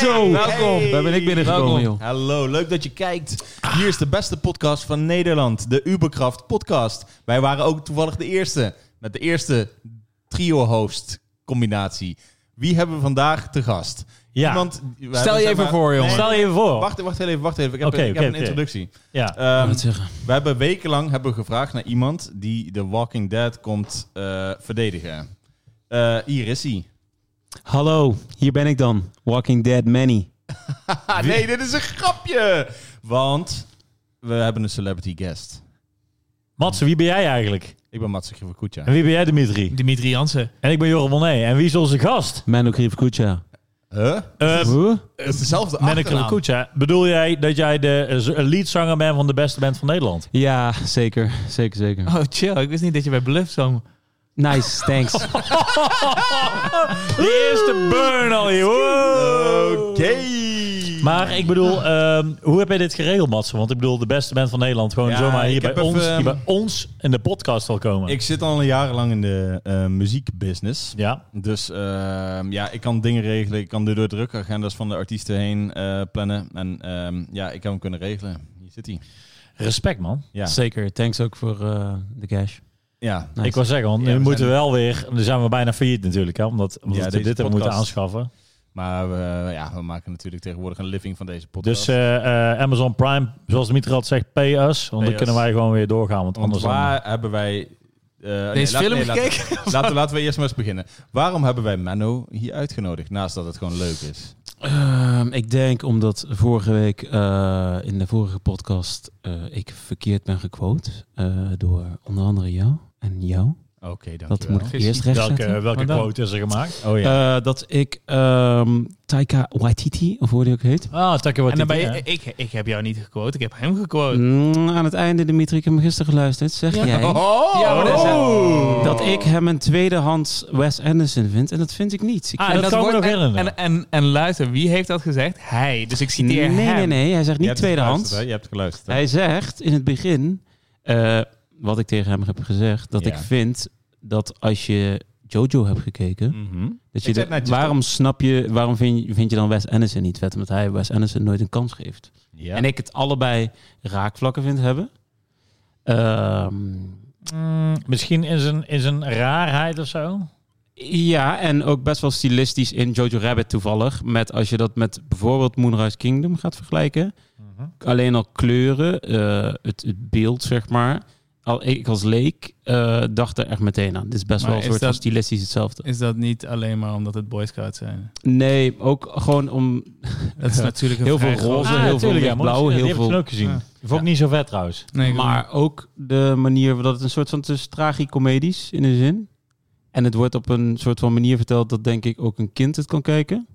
Zo, welkom. Daar ben ik binnengekomen, Welkom. joh. Hallo, leuk dat je kijkt. Hier is de beste podcast van Nederland, de Uberkraft podcast. Wij waren ook toevallig de eerste, met de eerste trio-host combinatie. Wie hebben we vandaag te gast? Ja. Iemand, Stel je even voor, jongen. Stel je even voor. Wacht, wacht heel even, wacht heel even. Ik heb, Oké, ik oké, heb een oké. introductie. Ja. Ehm, zeggen. we hebben wekenlang hebben we gevraagd naar iemand die The Walking Dead komt eh, verdedigen. Eh, hier is hij. Hallo, hier ben ik dan. Walking Dead Manny. Ah, nee, dit is een grapje. Want we hebben een celebrity guest. Mats, wie ben jij eigenlijk? Ik ben Mats Grievenkoetja. En wie ben jij, Dimitri? Dimitri Jansen. En ik ben Joram Monet. En wie is onze gast? Manu Krivkucha. Huh? Uh, Huh? Het is dezelfde Menneke achternaam. Kucha, bedoel jij dat jij de eh, z- leadzanger bent van de beste band van Nederland? Ja, zeker. Zeker, zeker. Oh, chill. Ik wist niet dat je bij Bluff zong. Nice, thanks. De eerste burn al, joh! Oké. Maar ik bedoel, ehm, hoe heb jij dit geregeld, Mats? Want ik bedoel, de beste band van Nederland gewoon Ja, zomaar hier ik bij, heb ons, even- ehm, hier bij ons in de podcast al komen. Ik zit al jarenlang in de eh, muziekbusiness. Ja, Dus ehm, ja, ik kan dingen regelen. Ik kan door de drukke agendas van de artiesten heen eh, plannen. En ehm, ja, ik heb hem kunnen regelen. Hier zit hij. respect man. Ja. Zeker, thanks ook voor eh, de cash. ja. Nice. Ik wou zeggen, want Ja, nu we moeten zijn- we wel weer... Dan zijn we bijna failliet natuurlijk, hè? Omdat, omdat Ja, we deze dit hebben moeten podcast. aanschaffen. Maar we, ja, we maken natuurlijk tegenwoordig een living van deze podcast. Dus eh, eh, Amazon Prime, zoals Dimitri had zegt, pay us. Want Pay dan us. kunnen wij gewoon weer doorgaan. Want, Want anders dan- waar hebben wij... eh, Deze laten- film laten- gekeken? Laten, laten we eerst maar eens beginnen. Waarom hebben wij Menno hier uitgenodigd? Naast dat het gewoon leuk is. Ehm, ik denk omdat vorige week eh, in de vorige podcast eh, ik verkeerd ben gequote eh, door onder andere jou en jou. Oké, dankjewel. Dat moet ik Gisteren. eerst rechtzetten. eh, Welke, welke Maar dan- quote is er gemaakt? Oh ja. Eh, dat ik ehm, Taika Waititi, of hoe die ook heet. Ah, takken wat En dan ben die- je, ik, ik heb jou niet gequote, ik heb hem gequote. Mm, aan het einde, Dimitri, ik heb hem gisteren geluisterd. Zeg Oh. Ja. jij Oh! Ja, maar dat is- dat ik hem een tweedehands Wes Anderson vind? En dat vind ik niet. Ik Ah, vind dat kan ik me nog en, herinneren. en, en, en luister, wie heeft dat gezegd? Hij. Dus ik citeer nee, hem. nee, nee. Hij zegt Je niet hebt tweedehands. geluisterd, hè? Je hebt geluisterd. hè? Hij zegt in het begin, eh, wat ik tegen hem heb gezegd, dat Ja. ik vind dat als je Jojo hebt gekeken, Mhm. dat je Ik zeg de- net, je waarom snap je, waarom vind, je- vind je dan Wes Anderson niet vet? Omdat hij Wes Anderson nooit een kans geeft. Ja. En ik het allebei raakvlakken vind hebben. Ehm, Mm, misschien in zijn, in zijn raarheid of zo. ja, en ook best wel stilistisch in Jojo Rabbit toevallig. Met als je dat met bijvoorbeeld Moonrise Kingdom gaat vergelijken. alleen al kleuren, eh, het, het beeld, zeg maar. Al, ik als leek eh, dacht er echt meteen aan. Dit is best Maar wel een is soort van dat- stilistisch hetzelfde. Is dat niet alleen maar omdat het Boy Scouts zijn? Nee, ook gewoon om Dat is natuurlijk een heel veel vrij groot- roze, heel veel Ah, tuurlijk, ja, maar blauw, die- heel Die heb ik toen veel... ook gezien. Ja. Die vond ik niet zo vet trouwens. Nee, ik- Maar ook de manier waarop het een soort van tussen tragicomedisch in de zin. En het wordt op een soort van manier verteld dat denk ik ook een kind het kan kijken.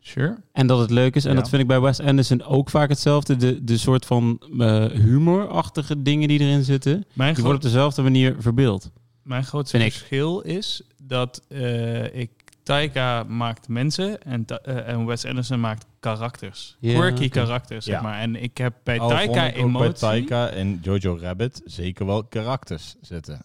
Sure. En dat het leuk is. En Ja. dat vind ik bij Wes Anderson ook vaak hetzelfde. De, de soort van eh, humorachtige dingen die erin zitten. Mijn, Die gro worden op dezelfde manier verbeeld. mijn grootste Vind ik. verschil is dat eh, ik... Taika maakt mensen en, Ta- eh, en Wes Anderson maakt karakters. Ja, Quirky oké. karakters, zeg Ja. maar. En Oh, ik heb bij Al Taika vond ik ook emotie... bij Taika en Jojo Rabbit zeker wel karakters zitten.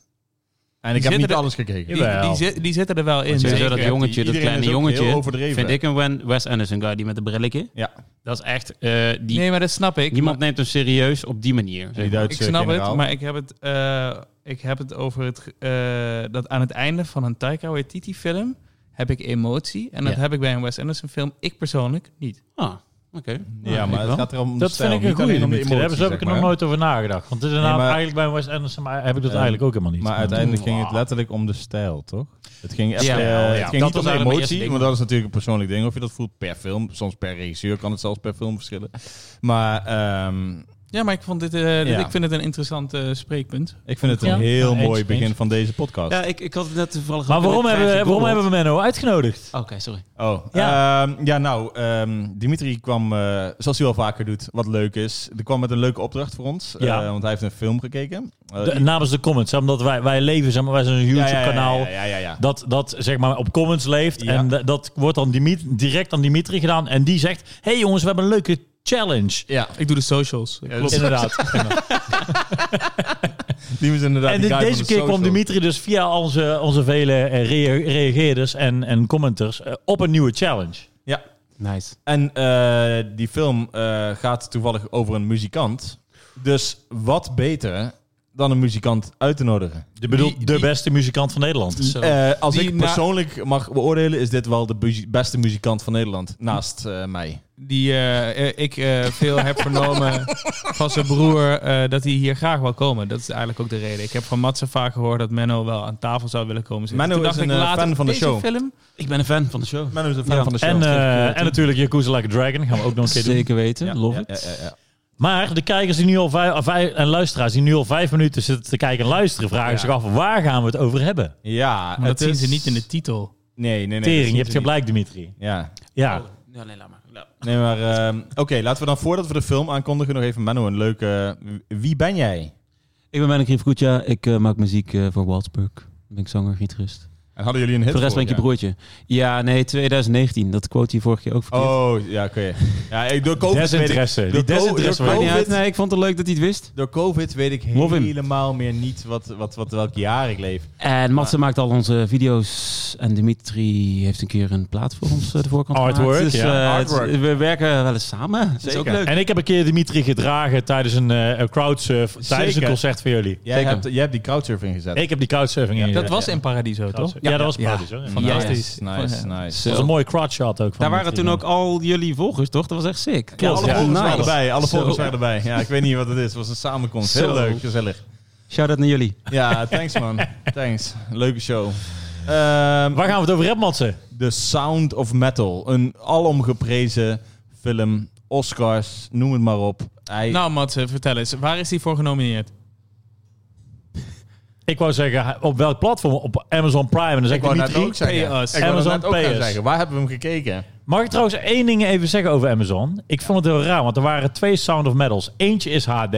En ik heb zitten niet er- alles gekeken. Die, Jawel. die, zit- die zitten er wel in. Sowieso zeker. dat jongetje, dat Iedereen kleine is ook jongetje, heel overdreven. Vind ik een Wen- Wes Anderson guy, die met de brilletje. Ja. Dat is echt, eh, die, Nee, maar dat snap ik. niemand neemt hem serieus op die manier. Die zeg maar. Duitse ik snap generaal. het, maar ik heb het, eh, ik heb het over het, ge- eh, dat aan het einde van een Taika Waititi film heb ik emotie. En dat Ja. heb ik bij een Wes Anderson film, ik persoonlijk niet. Ah, oké. Ja, maar het wel. gaat erom om de Dat stijl, vind ik niet een goede. alleen om de Dimitri. Daar hebben emoties, ze heb ik zeg er nog maar. nooit over nagedacht. Want het is een Nee, naam maar- eigenlijk bij Wes Anderson, maar heb ik dat Eh, eigenlijk ook helemaal niet. Maar uiteindelijk ging het letterlijk om de stijl, toch? Het ging, echt, Ja, eh, ja, het ja. ging Dat niet om was de eigenlijk mijn eerste emotie, ding. want dat is natuurlijk een persoonlijk ding. Of je dat voelt per film, soms per regisseur kan het zelfs per film verschillen. Maar ehm, Ja, maar ik, vond dit, eh, dit- Ja. ik vind het een interessant eh, spreekpunt. ik vind het een Ja. heel Ja, eens, mooi begin eens. van deze podcast. Ja, ik, ik had het net toevallig... Maar waarom hebben, we- waarom hebben we... we Menno uitgenodigd? Oké, sorry. Oh, ja, Ja. ja nou, ehm, Dimitri kwam, eh, zoals hij wel vaker doet, wat leuk is. Die kwam met een leuke opdracht voor ons, Ja. eh, want hij heeft een film gekeken. Eh, De- namens de comments, hè, omdat wij, wij leven, zeg maar, wij zijn een ja, ja, ja, YouTube-kanaal. Ja, ja, ja, ja. Dat, dat zeg maar op comments leeft. eh, Ja. En d- dat wordt dan Dimit- direct aan Dimitri gedaan. En die zegt: Hé hey jongens, we hebben een leuke Challenge. Ja, Ik doe de socials. dat klopt. Inderdaad. die was inderdaad en die de- guy van deze de keer kwam social. Dimitri dus via onze, onze vele eh, rea- reageerders en, en commenters eh, op een nieuwe challenge. Ja, Nice. en eh, die film eh, gaat toevallig over een muzikant. Dus wat beter dan een muzikant uit te nodigen? Je bedoelt Die- de die- beste muzikant van Nederland. Zo. Eh, als Die ik na- persoonlijk mag beoordelen, is dit wel de buzi- beste muzikant van Nederland. Naast eh, mij. Die eh, eh, ik eh, veel heb vernomen van zijn broer eh, dat hij hier graag wil komen. Dat is eigenlijk ook de reden. Ik heb van Matze vaak gehoord dat Menno wel aan tafel zou willen komen zitten. Menno Toen is dacht een, ik eh, later, fan van de deze show. film? Ik ben een fan van de show. Menno is een fan Ja. van de En, eh, en natuurlijk Yakuza Like a Dragon. Gaan we ook nog een keer doen. Zeker weten. Love it. Maar de kijkers die nu al vijf, ah, vijf- en luisteraars die nu al vijf minuten zitten te kijken en luisteren, vragen Ja. zich af waar gaan we het over hebben? Ja, Maar dat het zien is- ze niet in de titel. Nee, nee, nee. dat Tering, zien je hebt ze niet. gelijk, Dimitri. Ja, Ja. Ja, nee, laat maar. nee, maar ehm, oké, laten we dan voordat we de film aankondigen nog even Menno een leuke... Wie ben jij? Ik ben Menno Kriefkoetja. Ik eh, maak muziek eh, voor Waldsburg. Ben ik zanger, gitarist. En hadden jullie een hit Voor de rest ben ik je vorig broertje. Ja, nee, 2019. Dat quote je vorig jaar ook jaar? verkeerd. Oh, ja, oké. Ja, ik, door COVID weet ik, Desinteresse. Die door co- desinteresse. door Maakt weet ik. niet COVID. uit. Nee, ik vond het leuk dat hij het wist. door COVID weet ik Love him. helemaal meer niet wat, wat, wat, welk jaar ik leef. En Matze maakt al onze video's. En Dimitri heeft een keer een plaat voor ons eh, de voorkant Artwork, gemaakt. Dus, ja. eh, het is- Artwork. we werken wel eens samen. Dat is Zeker. ook leuk. En ik heb een keer Dimitri gedragen tijdens een eh, crowdsurf, tijdens een Zeker. concert voor jullie. Jij Zeker. hebt, jij hebt die crowdsurfing gezet. Ik heb die crowdsurfing in. eh, Dat was in Paradiso, toch? Ja, dat was praktisch. hoor. Van- Dat Fantastisch. Nice, nice, Van- nice. Zo. was een mooie crowdshot ook. Van Daar waren Dimitri. toen ook al jullie volgers, toch? Dat was echt sick. Ja, alle ja. volgers waren Nice. erbij. Alle Zo. volgers waren erbij. Ja, ik weet niet wat het is. Het was een samenkomst. Heel Zo. leuk, gezellig. Shout-out naar jullie. Ja, thanks man. Thanks. Leuke show. Ehm, Waar gaan we het over hebben, Matze? The Sound of Metal. Een alom geprezen film. Oscars, noem het maar op. Hij, Nou, Matze, vertel eens. Waar is hij voor genomineerd? Ik wou zeggen, op welk platform? Op Amazon Prime. En dan zeg ik wou net Dimitri, ook zeggen. Pay Us. Ik wou Amazon net ook gaan Pay Us. zeggen. Waar hebben we hem gekeken? Mag ik trouwens één ding even zeggen over Amazon? Ik vond het heel raar, want er waren twee Sound of Metals. Eentje is HD,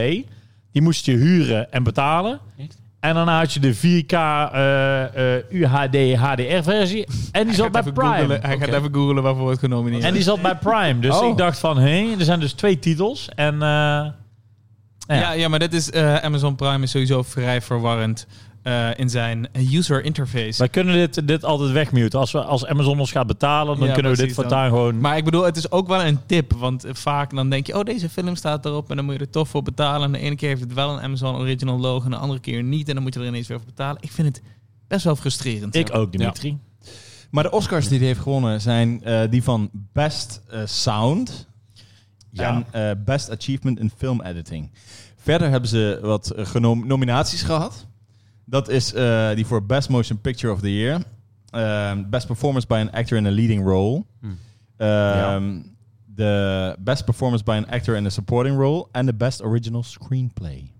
die moest je huren en betalen. Echt? En daarna had je de 4K eh, eh, UHD HDR versie. En die zat bij even Prime. googelen- hij Oké. gaat even googelen waarvoor het genomineerd En die zat bij Prime. Dus Oh. ik dacht van, hé, er zijn dus twee titels. En eh, nou ja. Ja, ja, maar dit is, eh, Amazon Prime is sowieso vrij verwarrend eh, in zijn user interface. wij kunnen dit, dit altijd wegmuten. Als, we, als Amazon ons gaat betalen, dan Ja, kunnen we dit precies voortaan gewoon... Maar ik bedoel, het is ook wel een tip. Want vaak dan denk je, oh, deze film staat erop en dan moet je er toch voor betalen. En de ene keer heeft het wel een Amazon Original logo en de andere keer niet. En dan moet je er ineens weer voor betalen. Ik vind het best wel frustrerend. ik ook, Dimitri. Maar de Oscars die hij heeft gewonnen zijn eh, die van Best eh, Sound Ja. en eh, Best Achievement in Film Editing. Verder hebben ze wat eh, genom- nominaties gehad. Dat is eh, die voor Best Motion Picture of the Year. Ehm, best Performance by an Actor in a Leading Role. Hm. Hmm. Ehm, De Best Performance by an Actor in a Supporting Role. En de Best Original Screenplay.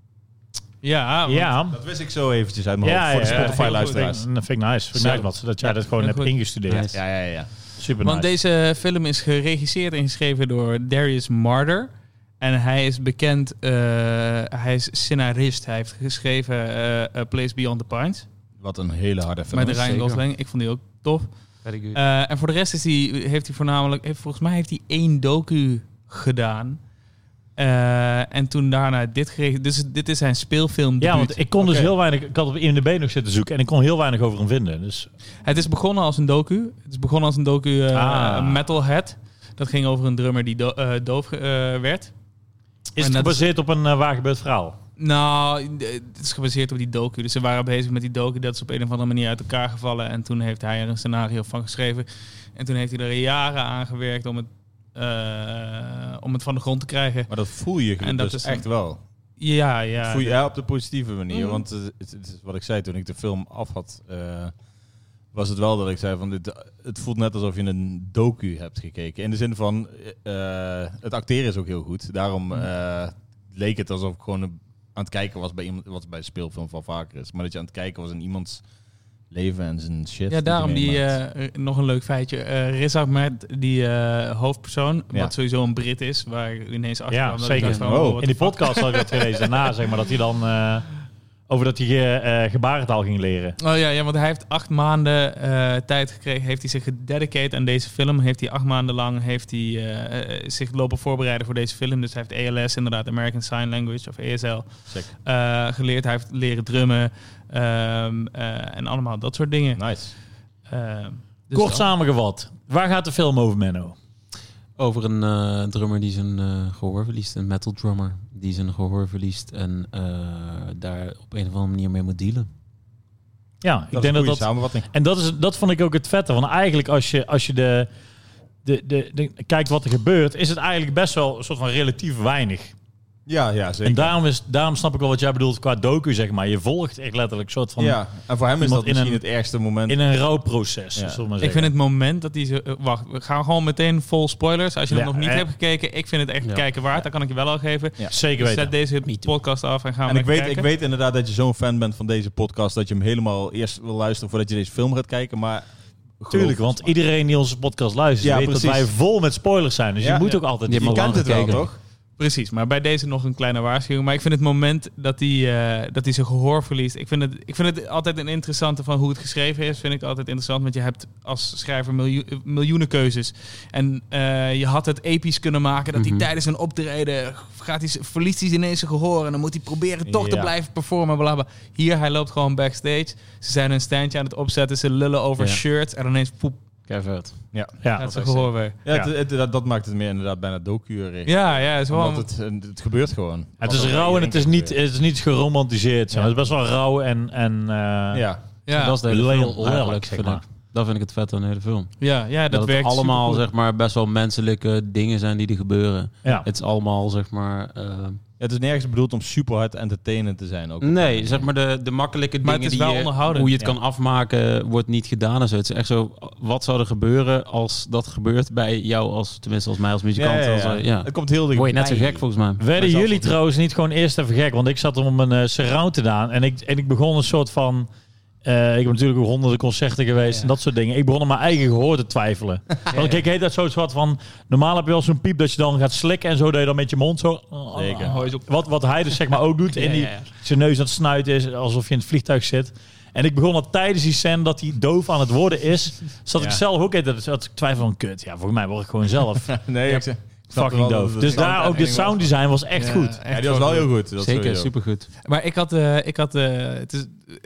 Ja, want- ja. Dat wist ik zo eventjes uit mijn hoofd voor de ja, Spotify-luisteraars. vind ik- Dat vind ik nice. Vind ik Zo. nice, Mats, dat jij Ja, dat gewoon heel hebt goed. ingestudeerd. Nice. Ja, ja, ja. Super Want nice. deze film is geregisseerd en geschreven door Darius Marder. En hij is bekend, eh, hij is scenarist. Hij heeft geschreven eh, A Place Beyond the Pines Wat een hele harde film. met is Ryan zeker. Gosling. Ik vond die ook tof. Very good. Eh, en voor de rest is die, heeft hij voornamelijk, heeft, volgens mij heeft hij één docu gedaan. Eh, en toen daarna dit geregeld. Dus dit is zijn speelfilm. Ja, want ik kon dus Oké. heel weinig. Ik had op IMDb nog zitten zoeken en ik kon heel weinig over hem vinden. Dus Het is begonnen als een docu. Het is begonnen als een docu eh, Ah. Metalhead. Dat ging over een drummer die do- eh, doof eh, werd. is dat het is- gebaseerd op een eh, waar gebeurd verhaal? Nou, d- het is gebaseerd op die docu. Dus ze waren bezig met die docu. Dat is op een of andere manier uit elkaar gevallen. En toen heeft hij er een scenario van geschreven. En toen heeft hij er jaren aan gewerkt om het, eh, om het van de grond te krijgen. Maar dat voel je En dat dus is dan- echt wel. Ja, ja. voel je ja, op de positieve manier. Mhm. Want eh, het, het is wat ik zei toen ik de film af had, eh, was het wel dat ik zei van dit, het voelt net alsof je een docu hebt gekeken. In de zin van eh, eh, het acteren is ook heel goed. Daarom Mhm. eh, leek het alsof ik gewoon een- aan het kijken was bij iemand wat bij een speelfilm van vaker is, maar dat je aan het kijken was in iemands leven en zijn shit. Ja, daarom die, meemaakt. eh, r- nog een leuk feitje. Eh Riz Ahmed, die eh, hoofdpersoon, Ja. wat sowieso een Brit is, waar ik ineens achter Ja, kwam dat ik zeker. dacht van, Oh. what In die the fuck. podcast had ik dat gelezen daarna, zeg maar, dat hij dan eh, Over dat hij eh, eh, gebarentaal ging leren. Oh ja, ja, want hij heeft acht maanden eh, tijd gekregen. Heeft hij zich gededicateerd aan deze film. Heeft hij acht maanden lang heeft hij, eh, eh, zich lopen voorbereiden voor deze film. Dus hij heeft ALS, inderdaad, American Sign Language of ASL, Check. eh, geleerd. Hij heeft leren drummen ehm, eh, en allemaal dat soort dingen. Nice. Ehm, dus Kort dat- samengevat. Waar gaat de film over, Menno? Over een eh, drummer die zijn eh, gehoor verliest. Een metal drummer die zijn gehoor verliest. En eh, daar op een of andere manier mee moet dealen. Ja, ik denk dat dat... samenvatting. En dat, is, dat vond ik ook het vette. Want eigenlijk als je, als je de, de, de, de- kijkt wat er gebeurt... is het eigenlijk best wel een soort van relatief weinig. Ja, ja, En zeker. daarom, is, daarom snap ik wel wat jij bedoelt qua docu, zeg maar. Je volgt echt letterlijk een soort van... ja. En voor hem is iemand dat in misschien een- het ergste moment. In een rouwproces, Ja. zullen we maar Ik zeggen. vind het moment dat hij zo... eh, Wacht, we gaan gewoon meteen vol spoilers. Als je Ja, hem nog niet hè? hebt gekeken, ik vind het echt Ja. kijken waard. Dat kan ik je wel al geven. Ja. Zeker Dus weten. zet deze Me too. podcast af en gaan we en ik lekker weet, ik kijken. weet inderdaad dat je zo'n fan bent van deze podcast... dat je hem helemaal eerst wil luisteren voordat je deze film gaat kijken. Maar Tuurlijk, want iedereen die onze podcast luistert Ja, weet dat precies. wij vol met spoilers zijn. Dus Ja. je moet Ja. ook altijd... Je je hebt al kent het wel, gekeken. toch? Precies, maar bij deze nog een kleine waarschuwing. Maar ik vind het moment dat hij, eh, dat hij zijn gehoor verliest. Ik vind, het, ik vind het altijd een interessante van hoe het geschreven is. Vind ik altijd interessant. Want je hebt als schrijver miljoen- eh, miljoenen keuzes. En eh, je had het episch kunnen maken dat hij Mhm. tijdens een optreden. Gaat hij, z- verliest hij ineens zijn gehoor. En dan moet hij proberen toch te Ja. blijven performen. Bla bla. Hier, hij loopt gewoon backstage. Ze zijn een standje aan het opzetten. Ze lullen over Ja. shirts. En ineens poep, Keivert. Ja, gaat zijn dat gehoor weg. Ja, Ja. Het, het- dat, dat maakt het meer inderdaad bijna docu-erig. Ja, ja, het is Want gewoon. het, het gebeurt gewoon. Het is rauw en het is niet, het is niet geromantiseerd. zeg maar. Het is best wel rauw en... en eh, Ja, ja, Dat is de hele Lel- film lelijk, eigenlijk, zeg vind maar. ik. Dat vind ik het vet aan de hele film. ja, ja, dat, dat, het werkt allemaal supergoed. zeg maar, best wel menselijke dingen zijn die er gebeuren. ja. Het is allemaal zeg maar. eh, het is nergens bedoeld om super hard entertainend te zijn. Ook. nee, zeg maar de, de makkelijke Maar het dingen is die wel je, onderhoudend, hoe je het ja. kan afmaken, wordt niet gedaan en zo. Het is echt zo, wat zou er gebeuren als dat gebeurt bij jou als, tenminste als mij als muzikant. Ja, ja, Als, ja. eh, ja. Het komt heel dicht. Word je net zo bij. gek volgens mij. Werden Mezelf jullie ook. trouwens niet gewoon eerst even gek? Want ik zat om een eh, surround te doen en ik, en ik begon een soort van... eh, ik heb natuurlijk ook honderden concerten geweest en dat soort dingen. Ik begon aan mijn eigen gehoor te twijfelen. Want ik heet dat zo'n soort van... Normaal heb je wel zo'n piep dat je dan gaat slikken en zo. Dat je dan met je mond zo... oh, Zeker. Hoi, zo- Wat, wat hij dus zeg maar ook doet. Ja, en die, ja, ja. zijn neus aan het snuiten is. Alsof je in het vliegtuig zit. En ik begon al tijdens die scène dat hij doof aan het worden is. Zat ik Ja. zelf ook in dat, dat ik twijfel van kut. Ja, volgens mij word ik gewoon zelf Nee, ik zeg- ik snap fucking wel dat doof. het Dus sound daar ook de editing was. sound design was echt Ja, goed. Ja, eh, die was wel heel goed. Dat Zeker, sowieso. supergoed. Maar ik had, eh, ik had eh, het is, eh,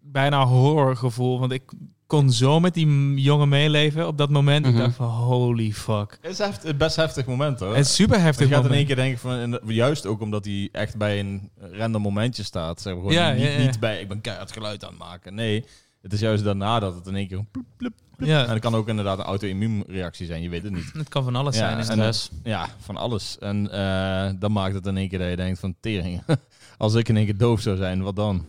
bijna horrorgevoel, want ik kon zo met die m- jongen meeleven op dat moment. Mhm. Ik dacht van holy fuck. Het is heft- het best heftig moment hoor. Het is super Want heftig. je gaat in één moment. keer denken van, en juist ook omdat hij echt bij een random momentje staat. Zeg maar, gewoon Ja, niet, ja, ja. niet bij, ik ben keihard geluid aan het maken. Nee, het is juist daarna dat het in één keer... een ploep, ploep. En Ja, dat kan ook inderdaad een auto-immuunreactie zijn, je weet het niet. het kan van alles Ja, zijn. dus en- inderdaad. Stress. Ja, van alles. En eh, dan maakt het in één keer dat je denkt van, tering, als ik in één keer doof zou zijn, wat dan?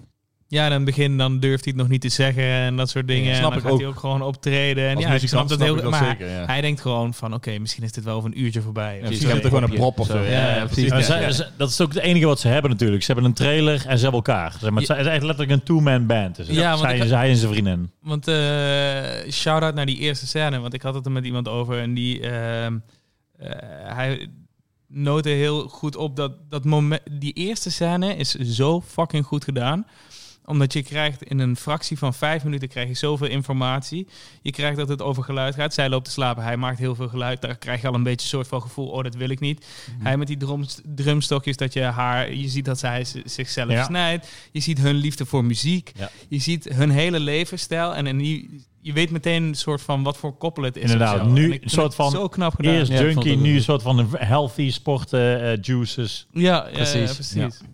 Ja, in het begin dan durft hij het nog niet te zeggen en dat soort dingen. Ja, snap en dan ik gaat ook. hij ook gewoon optreden. En Als ja, ik snap muzikant dat snap heel ik dat maar zeker, ja. Hij denkt gewoon van oké, misschien is dit wel over een uurtje voorbij. Ja, Of misschien zo. heb je gewoon een prop of Zo. zo. Ja, precies. Ja, Ja, ze- ja. ze- dat is ook het enige wat ze hebben natuurlijk. Ze hebben een trailer en ze hebben elkaar. Zeg maar, het is echt letterlijk een two-man band. Dus Ja, ja, want zij, ik had- zij en zijn vriendin. Want eh shout-out naar die eerste scène. Want ik had het er met iemand over. En die... ehm, eh, hij noten heel goed op dat, dat moment... Die eerste scène is zo fucking goed gedaan. Omdat je krijgt in een fractie van vijf minuten... krijg je zoveel informatie. Je krijgt dat het over geluid gaat. Zij loopt te slapen. Hij maakt heel veel geluid. Daar krijg je al een beetje een soort van gevoel... oh, dat wil ik niet. Hij met die drums- drumstokjes dat je haar... Je ziet dat zij z- zichzelf Ja. snijdt. Je ziet hun liefde voor muziek. Ja. Je ziet hun hele levensstijl en, en die, je weet meteen een soort van wat voor koppel het is. of Inderdaad, zo. nu En ik een vind soort het van Zo knap gedaan. Eerst Ja, ik vond junkie, het ook nu een goed. soort van healthy sporten eh, juices. ja, precies. Ja, Precies. precies. Ja.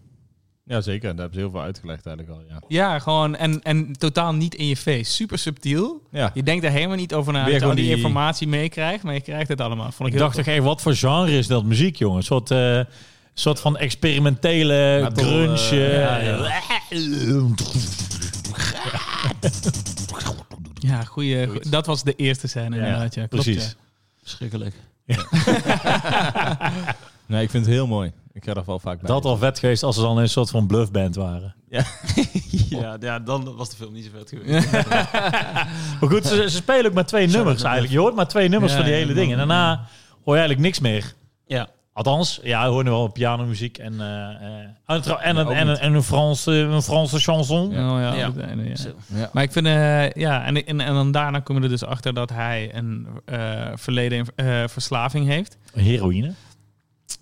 Ja, zeker. Daar hebben ze heel veel uitgelegd eigenlijk al, ja. gewoon en, en totaal niet in je face. Super subtiel. Ja, Je denkt er helemaal niet over na Weer dat je al gewoon die- die, informatie meekrijgt, maar je krijgt het allemaal. Vond ik Ik heel dacht toch echt, wat voor genre is dat muziek, jongen? Een soort, eh, soort van experimentele Metal, grunge. eh, eh, ja, Ja, goeie, goe- dat was de eerste scène Ja, inderdaad. Ja, klopt, precies. ja. Schrikkelijk. nee, ik vind het heel mooi. Ik ga er wel vaak bij. Dat al vet geweest als ze dan een soort van bluffband waren. Ja, Oh. ja, dan was de film niet zo vet geweest. Maar goed, ze, ze spelen ook maar twee nummers eigenlijk. Je hoort maar twee nummers Ja, van die ja, hele man. ding. En daarna hoor je eigenlijk niks meer. ja. Althans, ja, hoorde wel pianomuziek en, eh, eh, en, trouw- en, Ja, een- ook en, een- niet. en een, Franse, een Franse chanson. Ja. Oh, ja, Ja. op het einde, ja. Zo. Ja. Maar ik vind, eh, ja, en, en, en dan daarna kom je er dus achter dat hij een eh, verleden in eh, verslaving heeft. Heroïne.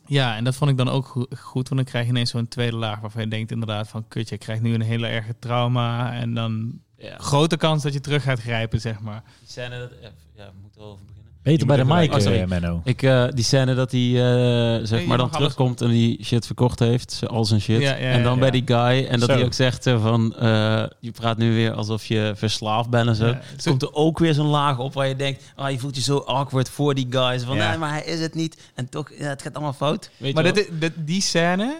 Ja, en dat vond ik dan ook goe- goed, want dan krijg je ineens zo'n tweede laag waarvan je denkt inderdaad van, kut, je krijgt nu een hele erge trauma en dan Ja. grote kans dat je terug gaat grijpen, zeg maar. Die scène dat... Ja, ja, we moeten wel over beginnen. Beter bij de even- mic, oh, sorry. eh, Menno. Ik, eh, die scène dat hij eh, zeg je maar dan mag alles- terugkomt en die shit verkocht heeft, z- al zijn shit. Ja, ja, en dan ja, bij ja. die guy en dat Zo. hij ook zegt eh, van eh, je praat nu weer alsof je verslaafd bent en zo. Ja, Er Eh, zo- komt er ook weer zo'n laag op waar je denkt, ah je voelt je zo awkward voor die guys. Van Ja. nee, maar hij is het niet en toch, ja, het gaat allemaal fout. Weet Maar je dat, wel? is- dat, die scène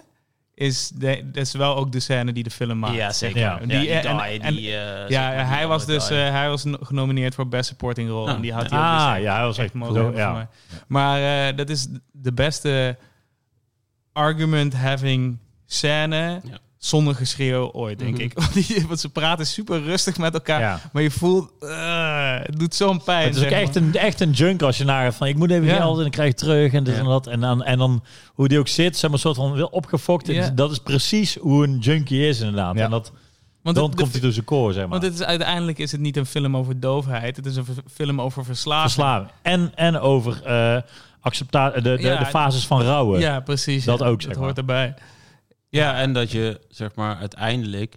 is, de, dat is wel ook de scène die de film maakt. ja, zeker. Ja. Ja. Die- eh, en- en- eh, ja, hij was dus eh, hij was no- genomineerd voor Best Supporting Role. Ah. En die had hij ook dus Ah, echt- ja, hij was echt echt mogen zo, hebben voor ja. mij. Maar eh, dat is de beste argument-having scène Ja. zonder geschreeuw ooit, denk Mhm. ik. Want, die- want ze praten super rustig met elkaar, Ja. maar je voelt... eh, het doet zo'n pijn. Het is ook zeg echt maar. een, echt een junk als je naar van ik moet even Ja. geld en ik krijg ik terug en dit Ja. en dat. En dan, en dan hoe die ook zit, zeg maar, soort van wel opgefokt. En Ja. Dat is precies hoe een junkie is inderdaad. Ja. En dat, Want dan het- de- komt hij door zijn koor, zeg maar. want het is, uiteindelijk is het niet een film over doofheid. Het is een v- film over verslaving. Verslaving. En, en over eh accepta de, de, Ja. de fases van rouwen. Ja, precies. Dat ja. ook, zeg Dat maar. hoort erbij. Ja, en dat je zeg maar uiteindelijk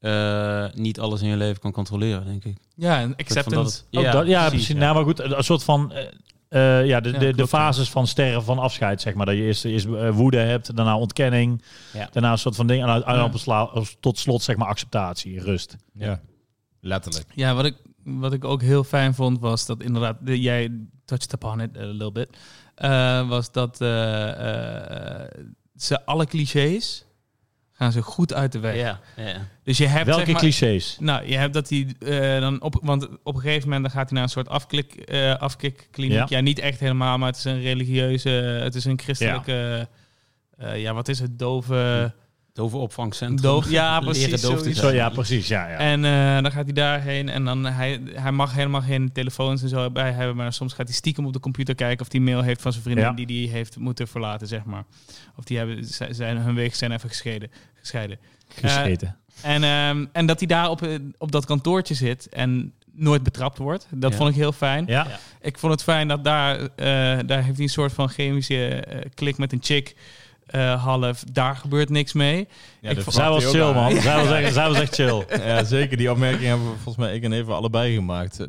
eh, niet alles in je leven kan controleren, denk ik. Ja, en Soort van acceptance. dat Ook het- dat, ja, precies. ja. Nou, maar goed, een soort van... eh, eh, ja, de, de, de Ja, klopt, ja. fases van sterren van afscheid, zeg maar. Dat je eerst, eerst eh, woede hebt, daarna ontkenning, Ja. daarna een soort van ding. En, uit- en Ja. op een sla- als- tot slot, zeg maar, acceptatie, rust. Ja. Letterlijk. Ja, wat ik, wat ik ook heel fijn vond was dat inderdaad, de- jij touched upon it a little bit, eh, was dat eh, eh, ze alle clichés gaan ze goed uit de weg. Ja, ja. Dus je hebt Welke zeg maar- clichés? Nou, je hebt dat hij eh, dan op, want op een gegeven moment dan gaat hij naar een soort afklik, eh afkikkliniek. Ja. Ja. niet echt helemaal, maar het is een religieuze, het is een christelijke, eh, ja, wat is het, dove, Dove opvangcentrum. doof, ja, Leren precies, doof te zoiets. Zo, ja, precies. Ja, ja. En eh, dan gaat hij daarheen en dan hij, hij mag helemaal geen telefoons en zo bij hebben, maar soms gaat hij stiekem op de computer kijken of hij mail heeft van zijn vriendin Ja. die die heeft moeten verlaten, zeg maar. Of die hebben, zij- zijn, hun wegen zijn even gescheiden. gescheiden. Gescheten. En, ehm, en dat hij daar op, eh, op dat kantoortje zit en nooit betrapt wordt, dat Ja. vond ik heel fijn. ja. ja. Ik vond het fijn dat daar, eh, daar heeft hij een soort van chemische eh, klik met een chick. eh, half, daar gebeurt niks mee. Ja, Ik dat vond- Zij verwacht was hij ook chill, aan. man. Zij, was echt, zij was echt chill. Ja, zeker. Die opmerking hebben we volgens mij ik en Eva allebei gemaakt. Eh,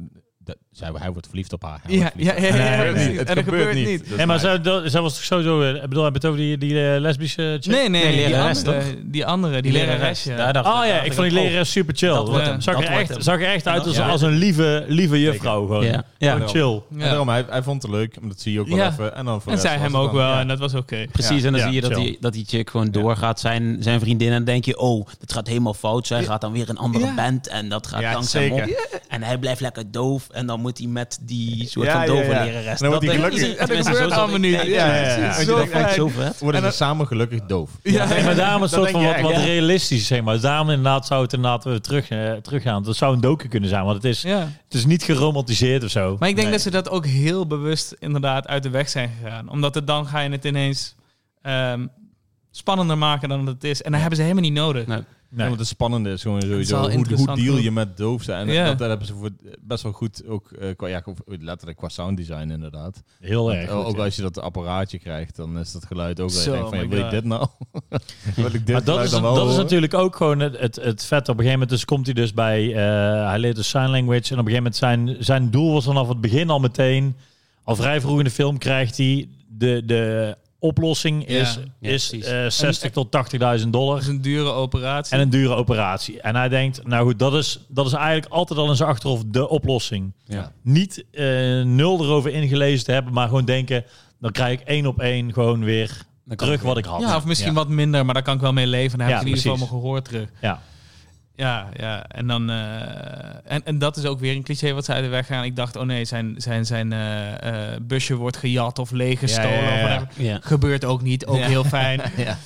Dat, zij, hij wordt verliefd op haar. hij Ja, wordt ja, verliefd ja, op ja, haar. ja, Nee, precies. het en dat gebeurt niet. Dat is Nee, maar nice. zij, dat- zij was toch sowieso... eh, Ik bedoel, heb je het over die, die eh, lesbische chick? Nee, nee, Nee, die, lerares, andere, die andere, die lerares. ja. Daar dacht Oh ik- ja, dacht ik vond die ook, leraar super chill. dat wordt Ja. hem, Zag dat er, wordt echt, hem. zag er echt uit als, Ja. als een lieve, lieve juffrouw. Gewoon. Ja, ja. Gewoon chill. Ja. En daarom, hij, hij vond het leuk. maar Dat zie je ook wel Ja. even. En, dan voor En de rest zij was hem het ook dan, wel, ja. en dat was oké. Precies, en dan Ja, zie je dat chill. die, dat die chick gewoon doorgaat, zijn, zijn vriendin. En dan denk je, oh, dat gaat helemaal fout. Zij Ja. gaat dan weer een andere Ja. band en dat gaat Ja, langzaam zeker. op. En hij blijft lekker doof en dan moet hij met die soort Ja, van ja, dove ja. lerares. En dan wordt Dat hij denk gelukkig. ik. En dat Tenminste, gebeurt zo zat allemaal ik niet. te Ja, denken. ja, ja. Precies. Zo Dat vond ik fijn. zo vet. Worden ze samen gelukkig doof. Ja. Nee, maar daarom een Dat soort van denk wat, je wat echt, ja. realistisch, zeg maar. Dus daarom inderdaad zou het inderdaad weer terug, eh, teruggaan. Dat zou een docu kunnen zijn, want het is, Ja. het is niet geromantiseerd of zo. Maar ik denk Nee. dat ze dat ook heel bewust inderdaad uit de weg zijn gegaan. Omdat het dan ga je het ineens ehm, spannender maken dan het is. En dan hebben ze helemaal niet nodig. Nee. Ja, want het spannende is gewoon is sowieso wel hoe, hoe interessant deal hoe- je met doof zijn. En Ja. dat, dat hebben ze voor, best wel goed ook eh, qua, ja, letterlijk qua sounddesign inderdaad. Heel Want erg. ook goed, ja. als je dat apparaatje krijgt, dan is dat geluid ook wel. Zo, je denkt van, my ja, wil ik God. dit nou? wil ik dit Maar dat geluid is, dan wel dat is horen? natuurlijk ook gewoon het, het, het vet. Op een gegeven moment dus komt hij dus bij... eh, hij leert de sign language. En op een gegeven moment zijn, zijn doel was vanaf het begin al meteen... Al vrij vroeg in de film krijgt hij... De, de oplossing Ja. is, Ja, is precies. eh, 60 tot 80.000 dollar. Dat is een dure operatie. En een dure operatie. En hij denkt, nou goed, dat is, dat is eigenlijk altijd al in zijn achterhoofd de oplossing. Ja. Niet eh, nul erover ingelezen te hebben, maar gewoon denken... Dan krijg ik één op één gewoon weer Dan kan terug ik weer. wat ik had. ja, of misschien Ja. wat minder, maar daar kan ik wel mee leven. Dan heb Ja, ik in ieder geval mijn precies. gehoor terug. Ja. Ja, ja. En, dan, eh, en, en dat is ook weer een cliché wat ze uit de weg gaan. Ik dacht, oh nee, zijn, zijn, zijn eh, eh, busje wordt gejat of leeggestolen. Ja, ja, ja. Of whatever. Ja. Gebeurt ook niet, ook heel fijn. Ja.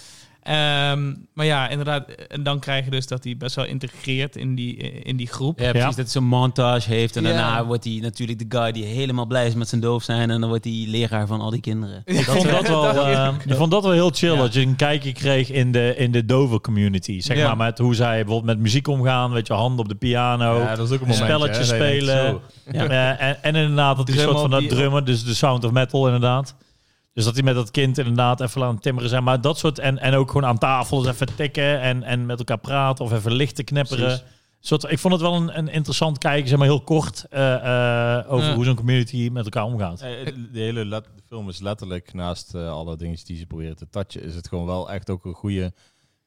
Ehm, maar ja, inderdaad. En dan krijg je dus dat hij best wel integreert in die, in die groep. Ja, precies. Dat hij zo'n montage heeft. En Ja. daarna wordt hij natuurlijk de guy die helemaal blij is met zijn doof zijn. En dan wordt hij leraar van al die kinderen. Ik vond dat wel, Dat- eh, ik vond dat wel heel chill Ja. dat je een kijkje kreeg in de, in de dove community. Zeg Ja. maar met hoe zij bijvoorbeeld met muziek omgaan. Weet je, handen op de piano. Ja, dat is ook een momentje. spelletjes hè, dat je denkt, spelen. zo. Ja. Eh, en, en inderdaad, dat die Drummen soort van op dat die- drummen, dus de sound of metal inderdaad. Dus dat hij met dat kind inderdaad even aan het timmeren zijn. Maar dat soort, en, en ook gewoon aan tafel eens even tikken en, en met elkaar praten of even lichten knepperen. Precies. Een Soort, ik vond het wel een, een interessant kijken, zeg maar heel kort, eh, eh, over Ja. hoe zo'n community met elkaar omgaat. Eh, De hele let- de film is letterlijk, naast eh, alle dingetjes die ze proberen te touchen, is het gewoon wel echt ook een goede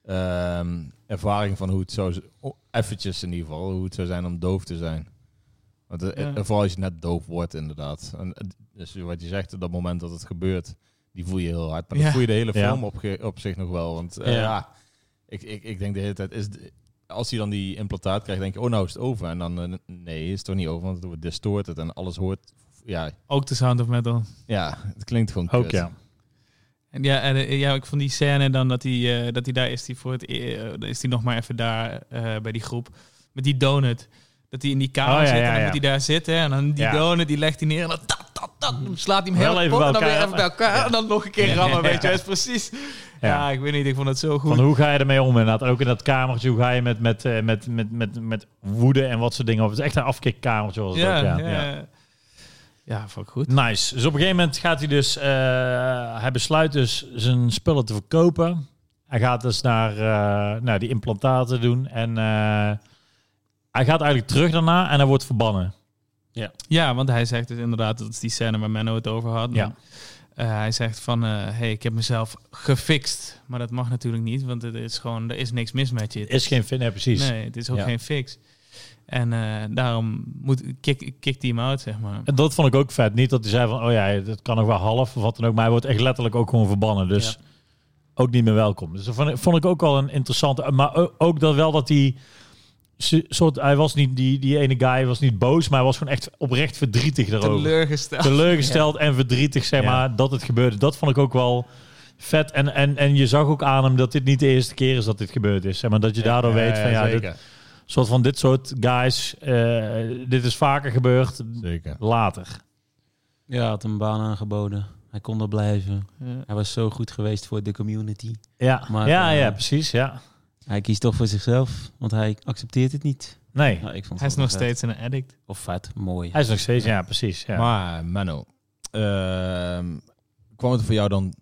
ehm, ervaring van hoe het zou... z- oh, Eventjes in ieder geval, hoe het zou zijn om doof te zijn. Want, eh, Ja. eh, Vooral als je net doof wordt, inderdaad. En, eh, dus wat je zegt, op dat moment dat het gebeurt, die voel je heel hard. Maar Ja. dat voel je de hele Ja. film op, ge- op zich nog wel. Want eh, Ja. ja, ik, ik, ik denk de hele tijd... Is de- als hij dan die implantaat krijgt, denk je, oh nou is het over. En dan, eh, nee, is het toch niet over, want het wordt distorted en alles hoort... Ja, Ook de Sound of Metal. ja, het klinkt gewoon Ook kut. ja. En ja, en, eh, ja, ik vond die scène dan dat hij, eh, dat hij daar is, die voor het, e- eh, dan is hij nog maar even daar eh, bij die groep met die donut. Dat hij in die kamer Oh, ja, zit en ja, dan ja. moet hij daar zitten. En dan die Ja. Mm. donut, die legt hij neer en dan tap, tap, tap, slaat hij hem Wel heel even kapot bij en dan weer elkaar, even bij elkaar. En dan nog een keer rammen, Ja. weet je. Dat is precies... Ja. Ja. ik weet niet, ik vond het zo goed. Van hoe ga je ermee om inderdaad? En Ook in dat kamertje, hoe ga je met, met, eh, met, met, met, met woede en wat soort dingen? Of het is echt een afkikkamertje was het ja, ook, ja, ja. ja. ja, vond ik goed. Nice. Dus op een gegeven moment gaat hij dus... eh, hij besluit dus zijn spullen te verkopen. Hij gaat dus naar, eh, naar die implantaten doen. En eh, hij gaat eigenlijk terug daarna en hij wordt verbannen. Ja, want hij zegt dus inderdaad, dat is die scène waar Menno het over had. Ja. Eh, hij zegt van, eh, hey, ik heb mezelf gefixt. Maar dat mag natuurlijk niet, want het is gewoon, er is niks mis met je. Het is geen fin, hè, precies. Nee, het is ook Ja. geen fix. En eh, daarom moet, kick, kick die hem out, zeg maar. En dat vond ik ook vet. Niet dat hij zei van, oh ja, het kan nog wel half of wat dan ook. Maar hij wordt echt letterlijk ook gewoon verbannen. Dus ook niet meer welkom. Dus dat vond ik, vond ik ook al een interessante... Maar o- ook dat wel dat hij... ze- Soort, hij was niet die, die ene guy, was niet boos, maar hij was gewoon echt oprecht verdrietig daarover. Teleurgesteld. teleurgesteld en verdrietig, zeg Ja. maar, dat het gebeurde. Dat vond ik ook wel vet. En, en, en je zag ook aan hem dat dit niet de eerste keer is dat dit gebeurd is. Zeg maar dat je daardoor Ja, weet ja, van ja, dit, zeker. soort van dit soort guys, eh, dit is vaker gebeurd zeker. later. Ja, had een baan aangeboden. Hij kon er blijven. Ja. Hij was zo goed geweest voor de community. Ja, Maar, ja, eh, ja, precies. Ja. Hij kiest toch voor zichzelf, want hij accepteert het niet. Nee, Nou, ik vond het Hij is wel nog vet. steeds een addict. Of vet, mooi. hij is nog steeds, ja, precies. Ja. Maar Menno, ehm, kwam het voor jou dan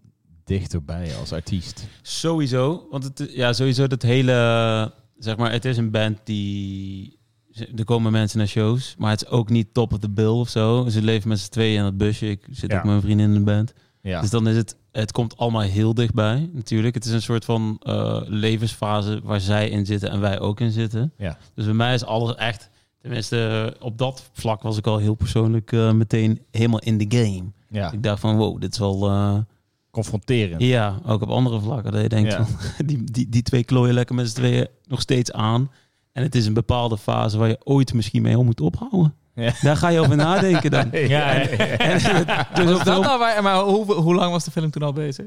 dichterbij als artiest? Sowieso, want het, i- ja, sowieso dat hele, eh, zeg maar, het is een band die, ze- er komen mensen naar shows, maar het is ook niet top of the bill of zo. Ze leven met z'n tweeën in het busje, ik zit Ja. ook met mijn vriendin in de band. Ja. Dus dan is het, het komt allemaal heel dichtbij natuurlijk. Het is een soort van eh, levensfase waar zij in zitten en wij ook in zitten. Ja. Dus bij mij is alles echt, tenminste eh, op dat vlak was ik al heel persoonlijk eh, meteen helemaal in de game. ja. Ik dacht van, wow, dit is wel... eh, Confronterend. ja, ook op andere vlakken. Dat je denkt, Ja. van, die, die, die twee klooien lekker met z'n tweeën nog steeds aan. En het is een bepaalde fase waar je ooit misschien mee om moet ophouden. Ja. Daar ga je over nadenken dan. Ja, ja, ja. En dus op Dat de, nou waar, maar hoe, hoe lang was de film toen al bezig?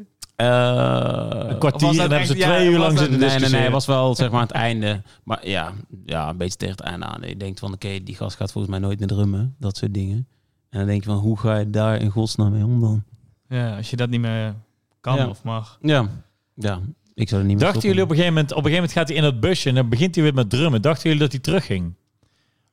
Eh, een was kwartier en dat hebben ze echt- ja, twee uur was lang dat- zitten Nee, nee, nee, discussiëren. het was wel zeg maar aan het einde. Maar ja, ja, een beetje tegen het einde aan. Je denkt van, oké, die gast gaat volgens mij nooit meer drummen. Dat soort dingen. En dan denk je van, hoe ga je daar in godsnaam mee om dan? Ja, als je dat niet meer kan Ja. of mag. Ja, ja. Ik zou er niet meer Dachten jullie op een gegeven moment, op een gegeven moment gaat hij in dat busje en dan begint hij weer met drummen. Dachten jullie dat hij terugging?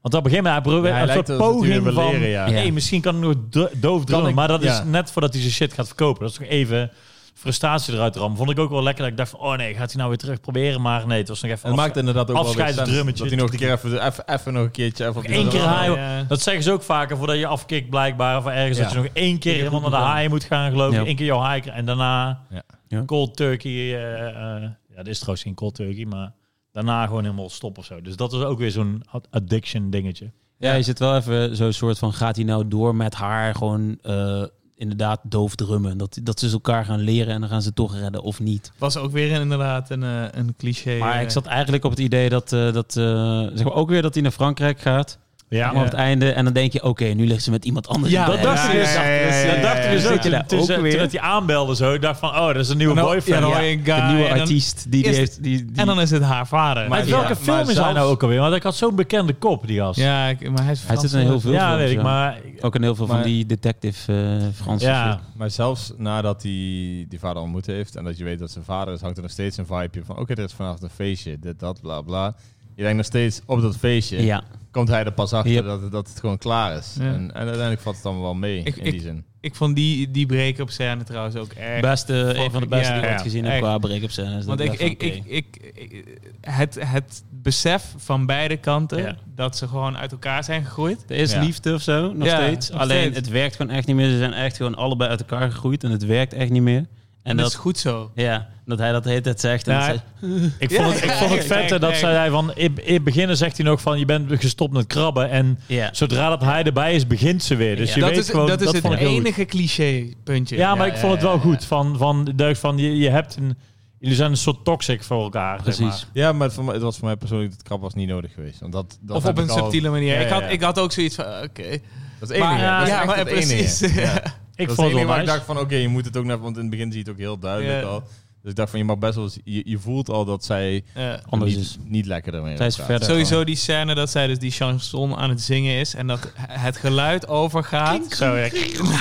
Want op een gegeven moment, hij probeert Ja, hij een lijkt soort alsof hij poging weer wil van, leren, ja. Ja. hey, misschien kan ik nog do- doof drummen. ik- maar dat ja. is net voordat hij zijn shit gaat verkopen. Dat is toch even frustratie eruit rammen. Vond ik ook wel lekker dat ik dacht van, oh nee, gaat hij nou weer terug proberen? Maar nee, het was nog even... En het af- maakt inderdaad ook wel weer sens, Afscheidsdrummetje. dat hij nog een keer even, even, even nog een keertje even op die Eén keer drum- haaien. Ja. Dat zeggen ze ook vaker, voordat je afkikt blijkbaar of ergens, Ja. dat je nog één keer helemaal naar de haaien moet gaan, geloof ik. Ja. Eén keer jouw haaien en daarna Ja. Ja. cold turkey. eh, eh, ja, dat is trouwens geen cold turkey, maar daarna gewoon helemaal stop of zo. Dus dat is ook weer zo'n ad- addiction dingetje. Ja, je zit wel even zo'n soort van, gaat hij nou door met haar gewoon eh, inderdaad doof drummen? Dat, dat ze dus elkaar gaan leren en dan gaan ze toch redden of niet. Was ook weer inderdaad een, eh, een cliché. Maar eh, ik zat eigenlijk op het idee dat, eh, dat eh, zeg maar ook weer dat hij naar Frankrijk gaat. Ja. Maar op het einde. En dan denk je, oké, nu ligt ze met iemand anders. Ja, in dat bed. dacht ik dus. ja, ja, ja, Dat dacht ik dus Zit ook. je daar Toen, ook ze- toen weer? dat hij aanbelde zo, ik dacht van, oh, dat is een nieuwe dan- boyfriend. ja, dan hoor je Ja. een guy De nieuwe en dan- artiest. Die, die Eerst- heeft, die, die, En dan is het haar vader. Maar- Uit ja, welke film is hij zelfs- nou ook alweer? Want ik had zo'n bekende kop, die gast. ja, ik- maar hij is hij Frans, zit in heel veel Ja, films, weet ik, ja. maar... Ook in heel veel Maar- van die detective eh Franse Ja, Maar zelfs nadat hij die vader ontmoet heeft en dat je weet dat zijn vader is, hangt er nog steeds een vibeje van: oké, er is vanavond een feestje, dit, dat, bla bla. Je denkt nog steeds op dat feestje, film. Ja. komt hij er pas achter Yep. dat, dat het gewoon klaar is. Ja. En, en uiteindelijk valt het allemaal wel mee Ik- in ik- die zin. Ik vond die, die break-up scène trouwens ook erg. Beste, een van de beste ja, die ik ooit ja, gezien heb echt. qua break-up scènes. Want Dat ik, dacht ik, van, ik, oké. ik, ik- het, het besef van beide kanten Ja. dat ze gewoon uit elkaar zijn gegroeid. Er is Ja. liefde of zo, nog Ja, steeds. nog Alleen steeds. het werkt gewoon echt niet meer. Ze zijn echt gewoon allebei uit elkaar gegroeid en het werkt echt niet meer. En En dat, dat, is goed zo. ja, dat hij dat de hele tijd zegt. En Nou, dat zij- ik vond het, ik vond het Ja, vet hè, dat ja, zei hij van... In in het begin zegt hij nog van, je bent gestopt met krabben. En ja. zodra dat hij erbij is, begint ze weer. Dus Ja. je dat, weet is, gewoon... dat is het vond ik heel goed. enige cliché puntje. Ja, maar Ja, ik vond het ja, wel ja, goed. Van, van, de deugd van je, je hebt een... Jullie zijn een soort toxic voor elkaar, zeg Precies. maar. Ja, maar het, voor mij- het was voor mij persoonlijk dat krap was niet nodig geweest. Want dat, dat of heb op een ik al- subtiele manier. Ja, ik, had, ja, ja. ik had ook zoiets van, oké. Dat is het enige. Maar- dat is ja, echt maar het precies. enige. Ja. Ik dat vond is het het wel waar ik nice. dacht van, oké, je moet het ook naar... Want in het begin zie je het ook heel duidelijk Ja. al. Dus ik dacht van, je mag best wel... eens- Je, je voelt al dat zij Ja. Anders niet, is. niet lekker ermee Zij is omgaat. verder. Eh, Sowieso die scène dat zij dus die chanson aan het zingen is en dat het geluid overgaat Zo, ja.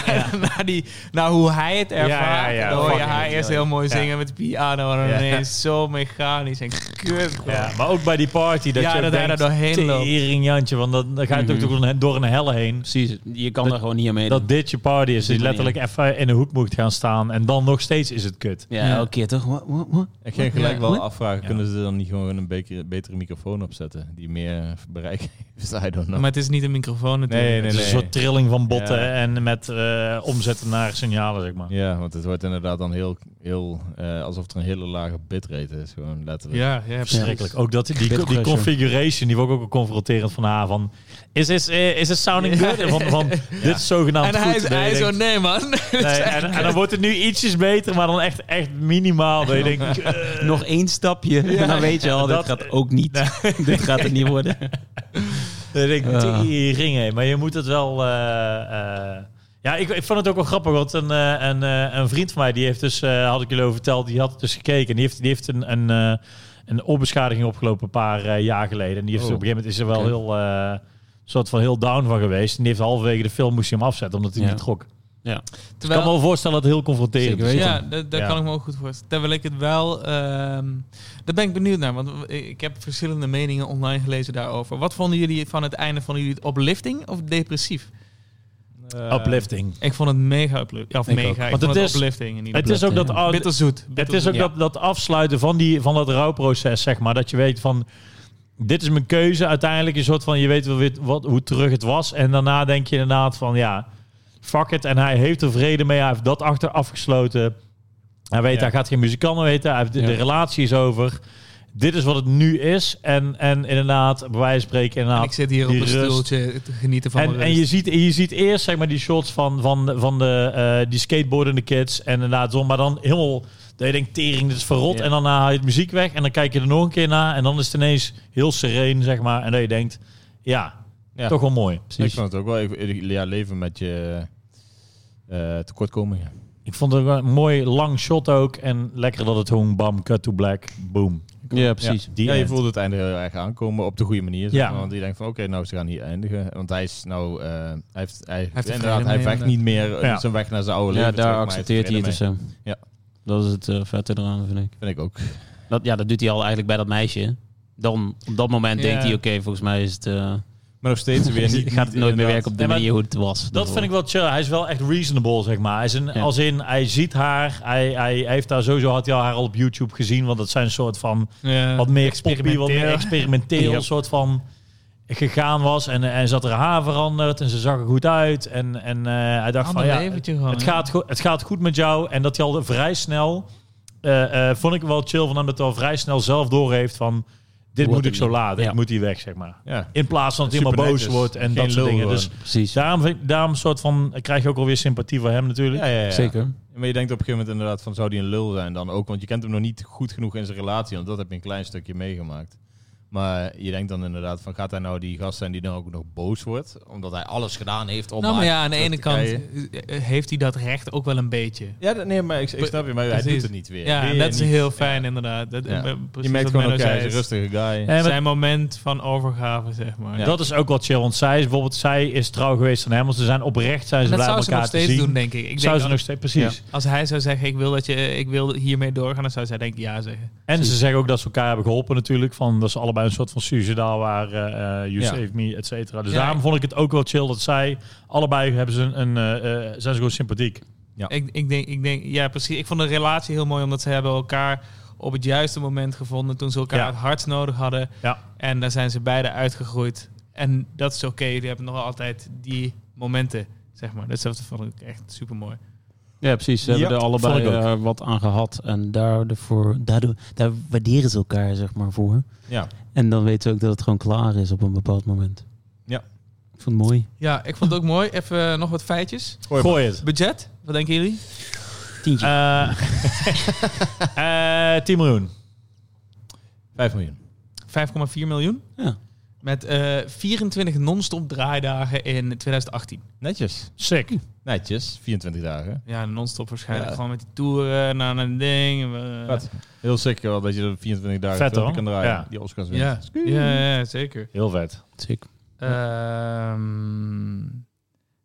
naar, naar die, naar hoe hij het ervaart. Ja, ja, ja. Dan hoor je Fucking haar goed, eerst ja. heel mooi Ja. zingen met de piano en dan Ja. ineens zo mechanisch en kut. Ja, maar ook bij die party dat Ja, je ook dat hij denkt, daar doorheen loopt. Mhm. "Tering, Jantje, want dan, dan ga je natuurlijk door een, door een hel heen. Precies, je kan Dat- daar gewoon niet aan meedoen. Dat dit je party is, dat je die letterlijk even in de hoek moet gaan staan en dan nog steeds is het kut. ja, Ja. elke keer toch? Wa- wa- wa- Ik ging gelijk Ja. wel afvragen, Ja. kunnen ze dan niet gewoon een betere, betere microfoon opzetten? Die meer eh, bereik heeft, I don't know. Maar het is niet een microfoon natuurlijk. Nee, nee, Het nee. is een soort trilling van botten Ja. en met eh, omzetten naar signalen, zeg maar. Ja, want het wordt inderdaad dan heel... heel eh, alsof er een hele lage bitrate is, gewoon letterlijk. Ja, ja, Verschrikkelijk. Ook dat, die, die Bitpressure. configuration, die vond ik ook wel confronterend van haar. Van, is this, eh, is it sounding good? En Van, van, dit is zogenaamd En hij goed. is, Dat je hij is zo, denkt, nee man. nee, en, en dan wordt het nu ietsjes beter, maar dan echt, echt minimaal. Dat je denkt, eh, Nog één stapje, en dan weet je al, dat- dit gaat ook niet. dit gaat het niet worden. Dat ik Ja. tering, hé. Maar je moet het wel... eh, eh, ja, ik, ik vond het ook wel grappig, want een, eh, een, eh, een vriend van mij, die heeft dus, eh, had ik jullie over verteld, die had dus gekeken. En die heeft, die heeft een, een, eh, een oorbeschadiging opgelopen een paar eh, jaar geleden. En die heeft Oh. op een gegeven moment is er wel Oké. heel, eh, soort van heel down van geweest. En die heeft halverwege de film moest hij hem afzetten, omdat hij Ja. niet trok. Dus ik Terwijl- kan me wel voorstellen dat het heel confronterend Zeker is. weten. Ja, dat, dat Ja. kan ik me ook goed voorstellen. Terwijl ik het wel... ehm daar ben ik benieuwd naar, want ik heb verschillende meningen online gelezen daarover. Wat vonden jullie van het einde? Vonden jullie het uplifting of depressief? Eh, Uplifting. Ik vond het mega uplifting. Of Ik mega, ook. ik Want vond het het is- uplifting in ieder Het is ook dat... geval. Bitterzoet. Het is bitterzoet. ook dat, dat afsluiten van, die, van dat rouwproces, zeg maar. Dat je weet van, dit is mijn keuze. Uiteindelijk een soort van, je weet wel weer wat, hoe terug het was. En daarna denk je inderdaad van, ja, fuck it. En hij heeft er vrede mee. Hij heeft dat achter afgesloten. Hij weet, Ja. hij gaat geen muzikant meer weten. Hij heeft, de- Ja. De relatie is over. Dit is wat het nu is. En, en inderdaad, bij wijze van spreken, En inderdaad, ik zit hier op Nou, die een rust. stoeltje te genieten van en, mijn en rust. je, ziet, je ziet eerst zeg maar, die shots van, van, van de, eh, die skateboardende kids en inderdaad zo, maar dan helemaal dat je denkt, tering, dit is verrot. Ja. En dan haal je het muziek weg en dan kijk je er nog een keer naar en dan is het ineens heel sereen, zeg maar. En dat je denkt, ja, Ja. toch wel mooi. Ik Precies. vond het ook wel. Ik, ik- ja, leven met je eh, tekortkomingen. Ik vond het wel een mooi lang shot ook en lekker dat het hong bam, cut to black, boom. Ja, precies. Die ja, je end. voelde het einde heel erg aankomen op de goede manier. zeg Ja. maar. Want je denkt van, oké, nou, ze gaan hier eindigen. Want hij is nou... eh, hij heeft, hij, heeft er inderdaad, vrede hij mee, vecht inderdaad. niet meer eh, Ja. zijn weg naar zijn oude Ja, leven. terug, daar maar accepteert hij heeft het of vrede zo. mee. Dat is het eh, vette eraan, vind ik. mee. Vind ik ook. Dat, ja, dat doet hij al eigenlijk bij dat meisje. Dan, op dat moment Ja. denkt hij, oké, volgens mij is het, eh, Maar nog steeds weer niet... gaat het nooit meer werken op de Ja, maar manier hoe het was. Dat vind ik wel chill. Hij is wel echt reasonable, zeg maar. Hij is een, Ja. Als in, hij ziet haar. Hij, hij heeft daar sowieso, had hij al haar al op YouTube gezien. Want dat zijn een soort van Eh, Ja. wat meer poppy, wat meer Experimenteel. experimenteel Ja. soort van gegaan was. En, eh, en ze had haar haar veranderd en ze zag er goed uit. En, en eh, hij dacht Ander van, ja, leventje gewoon, het hè? gaat, goed, het gaat goed met jou. En dat hij al vrij snel, eh, eh, vond ik wel chill van hem, dat hij al vrij snel zelf doorheeft van, dit Wat moet ik een- zo laten, Ja. ik moet hier weg, zeg maar. Ja. In plaats van dat hij Super helemaal boos netjes. wordt en Geen dat soort lul dingen. Dus gewoon. Precies, daarom, vind ik- daarom soort van, krijg je ook alweer sympathie voor hem natuurlijk. Ja, ja, ja. zeker. Maar je denkt op een gegeven moment inderdaad van, zou die een lul zijn dan ook? Want je kent hem nog niet goed genoeg in zijn relatie. Want dat heb je een klein stukje meegemaakt. Maar je denkt dan inderdaad van, gaat hij nou die gast zijn die dan ook nog boos wordt? Omdat hij alles gedaan heeft om nou, maar haar ja, aan de terug ene te kant krijgen. eh, heeft hij dat recht ook wel een beetje. Ja, d- nee, maar ik, ik snap je, maar hij Precies. doet het niet weer. Ja, Weer en dat is niet. heel fijn inderdaad. Dat, Ja. eh, Je precies merkt wat gewoon, oké, Menno hij zei, is Eh, een rustige guy. En wat- Zijn moment van overgave, zeg maar. Ja. Dat is ook wel chill, want zij is bijvoorbeeld zij is trouw geweest aan hem, want ze zijn oprecht zijn En ze dat blij zou met ze nog elkaar te steeds zien. doen, denk ik. ik zou denk ze nog steeds precies. als- Als hij zou zeggen, ik wil, dat je, ik wil hiermee doorgaan, dan zou zij denk ik ja zeggen. En ze zeggen ook dat ze elkaar hebben geholpen natuurlijk, van dat ze allebei een soort van suicidaal waren, eh, eh, you Ja. save me, et cetera. Dus Ja, daarom ik- vond ik het ook wel chill dat zij allebei hebben ze een, een eh, eh, zijn ze gewoon sympathiek. Ja. Ik, ik, denk, ik denk, ja precies. Ik vond de relatie heel mooi, omdat ze hebben elkaar op het juiste moment gevonden toen ze elkaar Ja. het hardst nodig hadden. Ja. En daar zijn ze beide uitgegroeid. En dat is oké, die hebben nog altijd die momenten, zeg maar. Dus dat vond ik echt super mooi. Ja, precies. Ze Ja, hebben er allebei vond ik eh, wat aan gehad. En daarvoor, daardoor, daar waarderen ze elkaar zeg maar voor. Ja. En dan weten ze ook dat het gewoon klaar is op een bepaald moment. Ja. Ik vond het mooi. Ja, ik vond het ook mooi. Even eh, nog wat feitjes. Gooi maar. Gooi het. Budget, wat denken jullie? Tientje. Eh, eh, 10 miljoen. 5 miljoen. 5,4 miljoen. Ja. Met eh, 24 non-stop draaidagen in 2018. Netjes. Sick. Netjes. 24 dagen. Ja, non-stop waarschijnlijk. Ja. Gewoon met die toeren, naar een ding. eh, Vet. Heel sick wel dat je er 24 dagen Vet, filmpje hoor. kan draaien. Ja. Die Oscars winnen. Ja, ja, ja, zeker. Heel vet. Sick. Ehm,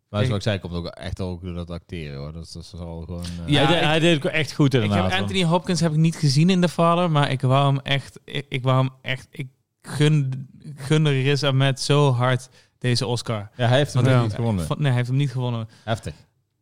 Maar zoals ik zei, komt ook echt ook door dat acteren hoor. Dat is, dat is al gewoon... eh, Ja, hij, deed- ik- hij deed het ook echt goed ik inderdaad. heb Anthony Hopkins heb ik niet gezien in The Father, maar ik wou hem echt... Ik, ik wou hem echt... Ik gun, gunde Riz Ahmed zo hard deze Oscar. Ja, hij heeft hem Want nog ik- niet gewonnen. van- nee, hij heeft hem niet gewonnen. Heftig.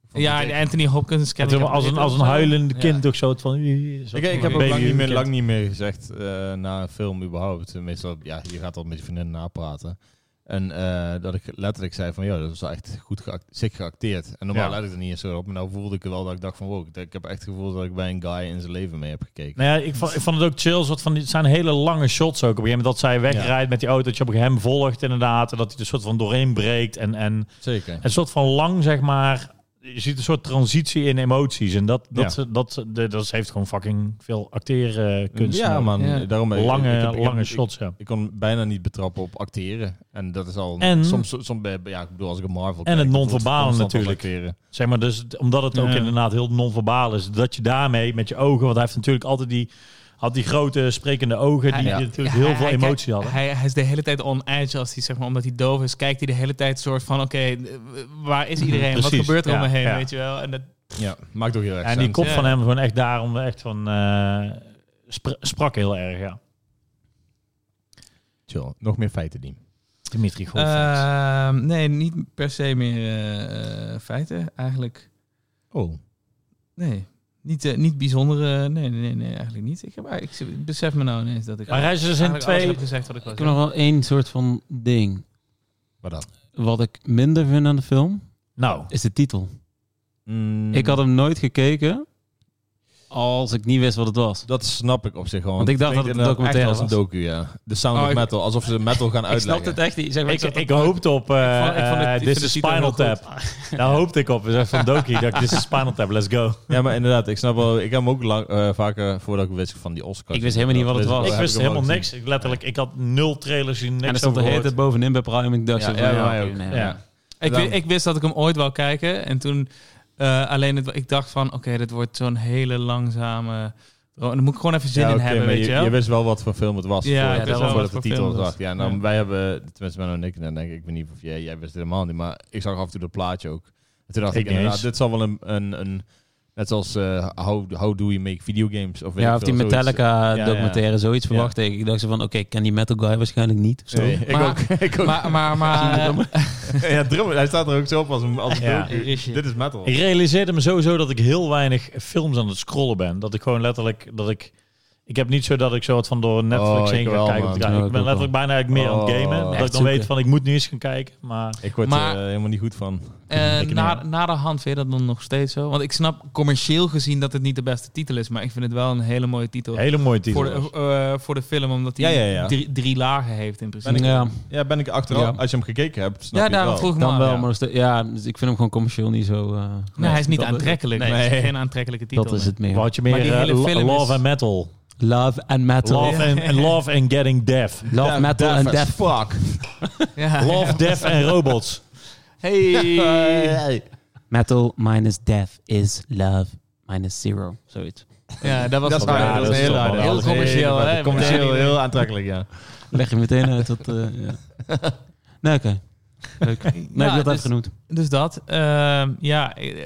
Vond Ja, eh, ik- de Anthony Hopkins... En toen kennelijk als, een, heb als een ik- huilend Ja. kind ook zo het van... Ik, ik heb ook Baby lang niet, meer, kind. lang niet meer gezegd eh, na een film überhaupt. Meestal, ja, je gaat al met je vriendin napraten. En eh, dat ik letterlijk zei van, ja, dat is wel echt goed geact sick geacteerd. En normaal Ja. let ik er niet eens zo op. Maar nou voelde ik wel dat ik dacht van, wow, ik, ik heb echt het gevoel dat ik bij een guy in zijn leven mee heb gekeken. Nou ja, ik vond, ik vond het ook chill. Soort van, het zijn hele lange shots ook. Op een gegeven moment dat zij wegrijdt met die auto. Dat je op een gegeven moment hem volgt inderdaad. En dat hij er soort van doorheen breekt. En, en Zeker. een soort van lang, zeg maar... Je ziet een soort transitie in emoties. En dat, dat, dat, dat, dat heeft gewoon fucking veel acteerkunst. ja, man. Ja. Daarom, eh, ik- Lange, ik heb- ik heb- lange ik- shots, ja. Ik kon bijna niet betrappen op acteren. En dat is al... En- soms, soms, bij- ja, ik bedoel, als ik een Marvel En het kijk, dan voelt non-verbale constant als natuurlijk. acteren. Zeg maar, dus d- omdat het ook Ja. inderdaad heel non-verbaal is, dat je daarmee met je ogen, want hij heeft natuurlijk altijd die, had die grote sprekende ogen die Ja. natuurlijk heel Hij- veel hij emotie kijkt- hadden. Hij, hij is de hele tijd on edge als hij, zeg maar, omdat hij doof is, kijkt hij de hele tijd soort van, oké, eh, waar is iedereen? Wat Mhm. Precies, gebeurt er ja, om me heen, ja. weet je wel? En dat, Ja, maakt ook heel erg en die sens. kop Ja. van hem gewoon echt daarom echt van eh, spra- sprak heel erg, ja. Chill. Nog meer feiten, Diem. Dimitri Golf. Ehm, nee, niet per se meer eh, eh, feiten, eigenlijk. Oh. Nee, niet, eh, niet bijzondere, nee, nee, nee, eigenlijk niet. Ik, heb, ah, ik, besef me nou ineens dat ik maar hij is in eigenlijk alles twee. heb gezegd wat ik was. Ik heb nog wel één soort van ding. Wat dan? Wat ik minder vind aan de film, Nou, is de titel. Mm, Hmm. Ik had hem nooit gekeken als ik niet wist wat het was. Dat snap ik op zich gewoon. Want ik dacht Klinkt dat het een inderdaad echt documentaire als een docu, ja. De Sound Oh, of ik- Metal. Alsof ze metal gaan uitleggen. echt niet. Zeg ik, ik hoopte op eh, vond- ik vond het- eh, ik This vind is de titel Spinal heel goed. Tap. Daar hoopte ik op. Ik zei van Doki, dat This is Spinal Tap, let's go. Oh, Ja, maar inderdaad. Ik snap wel... Ik heb hem ook lang, eh, vaker voordat ik wist van die Oscars. Ik wist helemaal niet wat het Dus was. heb Ik wist hem wel helemaal gezien. niks. Ik, letterlijk, ik had nul trailers zien, en er niks stond over de hele gehoord. tijd bovenin bij Prime. Ik dacht Ja, zo van, ja, ja, mij oké, ook. nee, Ja. Ik, Dan- wi- ik wist dat ik hem ooit wou kijken. En toen eh, alleen het, ik dacht van oké, dit wordt zo'n hele langzame. Oh, dan moet ik gewoon even zin Ja, in oké, hebben, maar weet je, je, wel. je wist wel wat voor film het was. Ja, ik voordat, wist wel voordat wat voor de titel film het zag. Ja, nou, wij hebben... Tenminste, Menno en ik. Dan denk ik, ik weet niet of jij... Jij wist het helemaal niet. Maar ik zag af en toe dat plaatje ook. En toen dacht Ik ik, niet inderdaad, eens. dit zal wel een... een, een net zoals eh, how, how do you make video games? Of, weet Ja, ik of veel, die zoiets. Metallica Ja, ja. documentaire, zoiets Ja. verwacht ik. Ik dacht zo van, oké, ik ken die metal guy waarschijnlijk niet. Of zo. Nee, ik Maar- ook. Ik ook. Maar, maar, maar ja, drummer, hij staat er ook zo op als een, als een Ja. docu. Dit is metal. Ik realiseerde me sowieso dat ik heel weinig films aan het scrollen ben. Dat ik gewoon letterlijk dat ik. Ik heb niet zo dat ik zo wat van door Netflix Oh, heen ik ga wel, kijken. man. Op de kaart. Ja, ik ik ben ook letterlijk bijna eigenlijk meer aan het Oh. gamen. Echt dat ik dan zoeken. weet van ik moet nu eens gaan kijken. Maar Ik word Maar- er eh, helemaal niet goed van. eh, Ik na, niet. na de hand vind je dat dan nog steeds zo. Want ik snap commercieel gezien dat het niet de beste titel is. Maar ik vind het wel een hele mooie titel. hele mooie titel. voor, de, eh, voor de film, omdat hij Ja, ja, ja. Drie, drie lagen heeft in principe. ja, Ja, ben ik achteraf. Ja. Als je hem gekeken hebt, snap ja, je het daarom wel. vroeg ik me dan aan. wel. Ja. Maar nog steeds- ja, dus ik vind hem gewoon commercieel niet zo... eh, Nee, hij is niet dat- aantrekkelijk. Nee. Nee, het is geen aantrekkelijke titel. Dat is het meer. Wat je meer Maar die eh, hele lo- film love is- and metal. Love and metal. Love and, and love and getting deaf. Love, Ja, metal deaf and as death. Fuck. Ja. Love, deaf en robots. Hey. Hey. Metal minus death is love minus zero. Zoiets. Ja, dat was Dat is hard. Ja, dat dat is is heel toch hard. wel heel hard. commercieel, hè? Commercieel, Meteen. heel aantrekkelijk, ja. Leg je meteen uit dat... eh, ja. Nee, oké. Leuk. Nee, ik heb Nou, dat dus- even genoemd. Dus dat. ehm, ja, eh,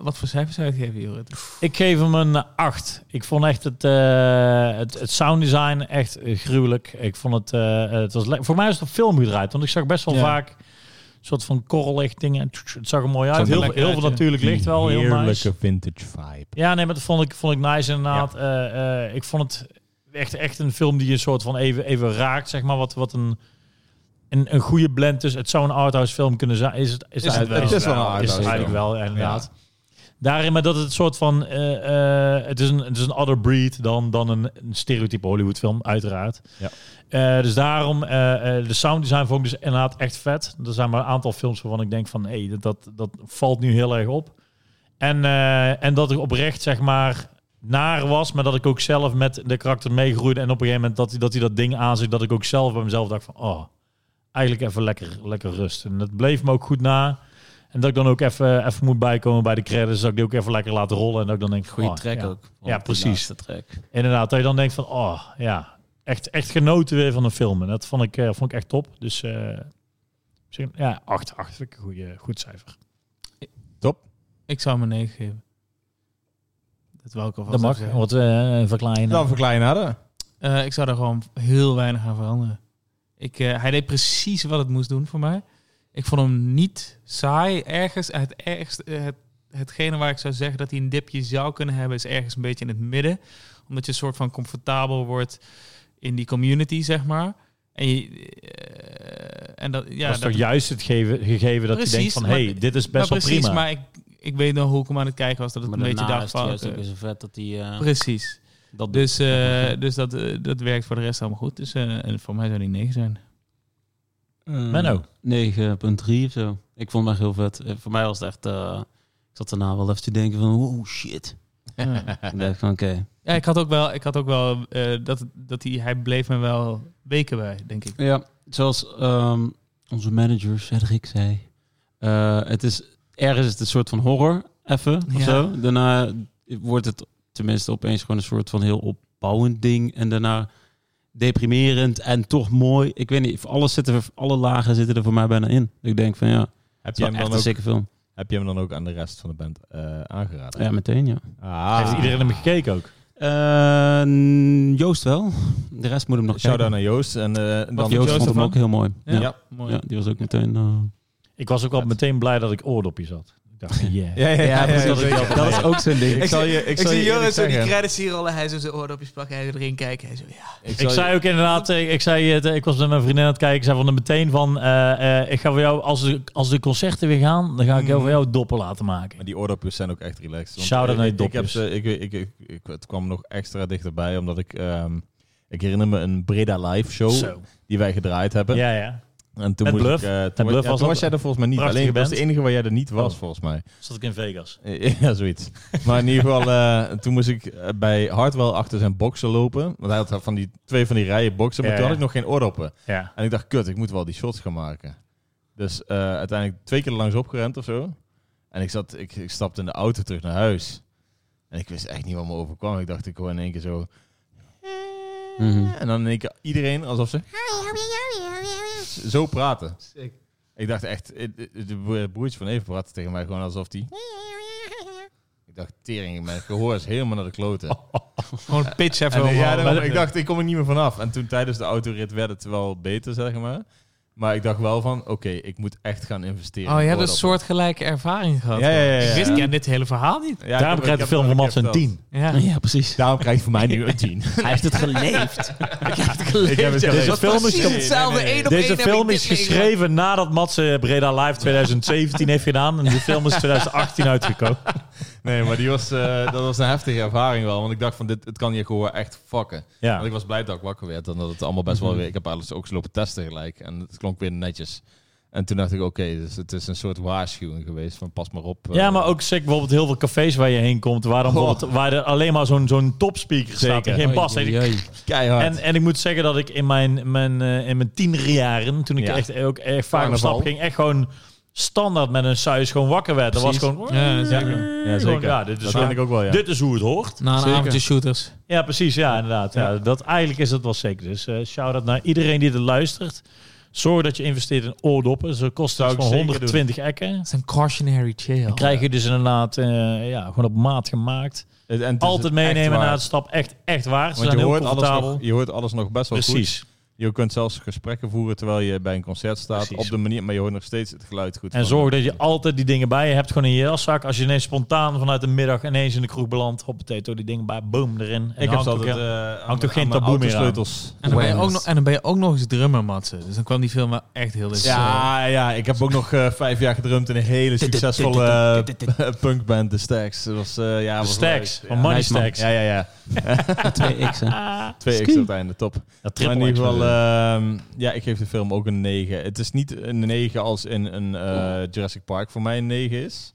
wat voor cijfers zou je het geven, Jorrit? Ik geef hem een 8. Ik vond echt het, eh, het, het sounddesign echt eh, gruwelijk. Ik vond het, eh, het was le- voor mij is het op film gedraaid, want ik zag best wel Ja. vaak een soort van korrellicht dingen. Het zag er mooi uit. Zag er Heel, veel- lekker heel uit, veel ja. natuurlijk licht wel, heel nice. Heerlijke vintage vibe. Ja, nee, maar dat vond ik, vond ik nice inderdaad. Eh, eh, ik vond het echt, echt een film die een soort van even, even raakt, zeg maar. Wat, wat een, een, een goede blend tussen... Het zou een arthouse film kunnen zijn. Is het, is Is het- wel. het is wel een arthouse Is het eigenlijk film. wel, ja, inderdaad. Daarin, maar dat het een soort van... eh, eh, het, is een, het is een other breed dan, dan een, een stereotype Hollywood film, uiteraard. Ja. Eh, dus daarom, eh, eh, de sounddesign vond ik dus inderdaad echt vet. Er zijn maar een aantal films waarvan ik denk van... Hé, dat, dat, dat valt nu heel erg op. En, eh, en dat ik oprecht, zeg maar, naar was, maar dat ik ook zelf met de karakter meegroeide. En op een gegeven moment dat hij dat, hij dat ding aanziet, dat ik ook zelf bij mezelf dacht van, oh, eigenlijk even lekker, lekker rust. En dat bleef me ook goed na. En dat ik dan ook even, even moet bijkomen bij de credits, dat ik die ook even lekker laat rollen. En dat ik dan denk, Goeie oh, track ja. ook. Ja, precies. De track. Inderdaad, dat je dan denkt van, oh, ja, echt, echt genoten weer van een film. En dat vond ik, eh, vond ik echt top. Dus eh, misschien- ja, acht, acht vind ik een goede, goed cijfer. Ik zou hem een 9 geven. Dat wou ik alvast Dat mag, even zeggen. wat eh verkleinen. Dan verkleinen hadden. Eh, ik zou daar gewoon heel weinig aan veranderen. Ik, eh, hij deed precies wat het moest doen voor mij. Ik vond hem niet saai. Ergens, het ergste, eh, het, hetgene waar ik zou zeggen dat hij een dipje zou kunnen hebben, is ergens een beetje in het midden. Omdat je een soort van comfortabel wordt in die community, zeg maar. En, je, eh, en dat, ja, dat is dat- toch juist het gegeven, gegeven dat Precies, je denkt van, maar- hey, dit is best maar wel precies, prima. Maar ik, ik weet nog hoe ik hem aan het kijken was, dat het Maar een beetje daarna dacht is het van... juist ook eh, weer zo vet dat die... eh, precies. dat doet. Dus, eh, dus dat, eh, dat werkt voor de rest allemaal goed. Dus eh, en voor mij zou die 9 zijn. Eh, Menno. 9.3 of zo. Ik vond hem echt heel vet. Eh, voor mij was het echt... eh, ik zat daarna wel even te denken van... Oh shit. Ja. Ik dacht van oké. Ja, ik had ook wel, ik had ook wel eh, dat, dat hij, hij bleef me wel weken bij, denk ik. Ja, zoals ehm, onze manager Cedric zei. eh, het is, ergens is het een soort van horror, even of Ja. zo. Daarna wordt het tenminste opeens gewoon een soort van heel opbouwend ding. En daarna deprimerend en toch mooi. Ik weet niet, alles zitten er, alle lagen zitten er voor mij bijna in. Ik denk van ja, het Heb is wel echt een zikke film. heb je hem dan ook aan de rest van de band eh, aangeraden? Ja, meteen ja. Ah. Heeft iedereen hem gekeken ook? Eh, Joost wel. De rest moet hem nog Shout-out kijken. naar Joost. En, eh, dan vond Joost, Joost vond hem ervan? ook heel mooi. Ja, Ja, ja. mooi. die was ook meteen... eh, Ik was ook al meteen blij dat ik oordopjes had. Ik dacht, yeah. Ja, ja, ja, ja, precies. ja, ja, ja. dat is ook zo'n ding. Ik zal je, ik zal je eerlijk zeggen. credits hier rollen, hij zo zijn oordopjes pakken, hij erin kijken. Hij zo, ja. Ik zei ook inderdaad, eh, ik, zei, het, eh, ik was met mijn vriendin aan het kijken. Ik zei van meteen van, eh, eh, ik ga voor jou, als de, als de concerten weer gaan, dan ga ik jou voor jou doppen laten maken. Maar die oordopjes zijn ook echt relaxed. want Shout-out ik- naar die ik- ik heb dopjes. ze- ik, ik, ik, ik- Het kwam nog extra dichterbij, omdat ik... ehm, ik herinner me een Breda Live show Zo. die wij gedraaid hebben. Ja, ja. En toen Met moest Bluff. ik... eh, toen Bluff ja, toen was dat- was jij er volgens mij niet. Prachtige Alleen ik was de band. enige waar jij er niet was, Oh. volgens mij. Zat ik in Vegas. Ja, zoiets. Maar in ieder geval, eh, toen moest ik eh, bij Hardwell achter zijn boksen lopen. Want hij had van die, twee van die rijen boksen, maar Ja, toen ja. had ik nog geen oordoppen. Ja. En ik dacht, kut, ik moet wel die shots gaan maken. Dus eh, uiteindelijk twee keer langs opgerend of zo. En ik, zat, ik, ik stapte in de auto terug naar huis. En ik wist echt niet wat me overkwam. Ik dacht, ik hoor in één keer zo... "Eh." Mhm. En dan in één keer iedereen alsof ze zo praten. Ik dacht echt, eh, eh, de broertje van Even praatte tegen mij gewoon alsof die... Ik dacht, tering, mijn gehoor is helemaal naar de kloten. Oh. Gewoon pitch even En, eh, omhoog. ja, daarom, Maar ik dacht, ik kom er niet meer vanaf. En toen tijdens de autorit werd het wel beter, zeg maar. Maar ik dacht wel van, oké, ik moet echt gaan investeren. Oh, je in hebt een oordoppen. soortgelijke ervaring gehad. Ja, ja, ja, ja. Ik wist ik ken dit hele verhaal niet. Ja, ik heb- Daarom ik krijgt de heb- film ik van heb Mats een dat. 10. Ja. Ja, precies. Daarom krijgt voor mij nu een 10. Hij heeft het geleefd. ik heb het Deze gelezen. film is, Precies hetzelfde, één op één deze heb ik film dit is meegemaakt. geschreven nadat Mats eh, Breda Live 2017 heeft gedaan. En de film is 2018 uitgekomen. Nee, maar die was, eh, dat was een heftige ervaring wel. Want ik dacht van, dit het kan je gehoor echt fucken. Ja. Mhm. Want ik was blij dat ik wakker werd. En dat het allemaal best wel weer... Ik heb alles ook eens lopen testen gelijk. En het klonk weer netjes. En toen dacht ik, oké, dus het is een soort waarschuwing geweest van pas maar op. eh, Oh. Ja, maar ook zeg bijvoorbeeld heel veel cafés waar je heen komt, waar, dan Goh. bijvoorbeeld, waar er alleen maar zo'n zo'n topspeaker staat en Zeker. geen bas. Oei, oei, oei. keihard. En, en ik moet zeggen dat ik in mijn, mijn, eh, in mijn tienerjaren, toen ik Ja. echt ook echt vaak op Carnaval. stap ging, echt gewoon standaard met een suis gewoon wakker werd. Dat was Precies. gewoon... Ja, zeker. ja, zeker. Ja, dit is, Dat gewoon- ken ik ook wel, ja. dit is hoe het hoort. Na een Zeker. avondje shooters. Ja, precies. Ja, inderdaad. Ja. dat, eigenlijk is dat wel zeker. Dus eh shout-out naar iedereen die er luistert. Zorg dat je investeert in oordoppen. Ze kosten Zou ik gewoon zeker 120 ekken. Het is een cautionary tale. Krijg je dus inderdaad eh, ja, gewoon op maat gemaakt. Het- en het is Altijd echt meenemen waar. naar het stap. Echt, echt waar. Ze Want zijn je heel hoort, alles comfortabel. nog, je hoort alles nog best wel goed. Precies. Je kunt zelfs gesprekken voeren terwijl je bij een concert staat. Precies. Op de manier, maar je hoort nog steeds het geluid goed. En zorg dat je altijd die dingen bij je hebt. Gewoon in je jaszak. Als je ineens spontaan vanuit de middag ineens in de kroeg belandt. Hoppatee, door die dingen bij. Boom, erin. En Ik heb hangt ze ook, altijd ja. eh, aan hangt mijn- ook geen aan mijn taboe meer autosleutels. En dan, ben je ook Awareness. nog, en dan ben je ook nog eens drummer, Matze. Dus dan kwam die film wel echt heel erg. Ja, ja, ik heb ook nog eh, vijf jaar gedrumd in een hele succesvolle eh, punkband, The Stags. Dat was, eh, ja, de was stacks. leuk. Van Money Nice man. Stacks. Ja, ja, ja. Twee X'en. Twee X op het einde, top. Dat Maar in triple ieder X. geval, ehm, ja, ik geef de film ook een 9. Het is niet een 9 als in een eh, Jurassic Park voor mij een 9 is.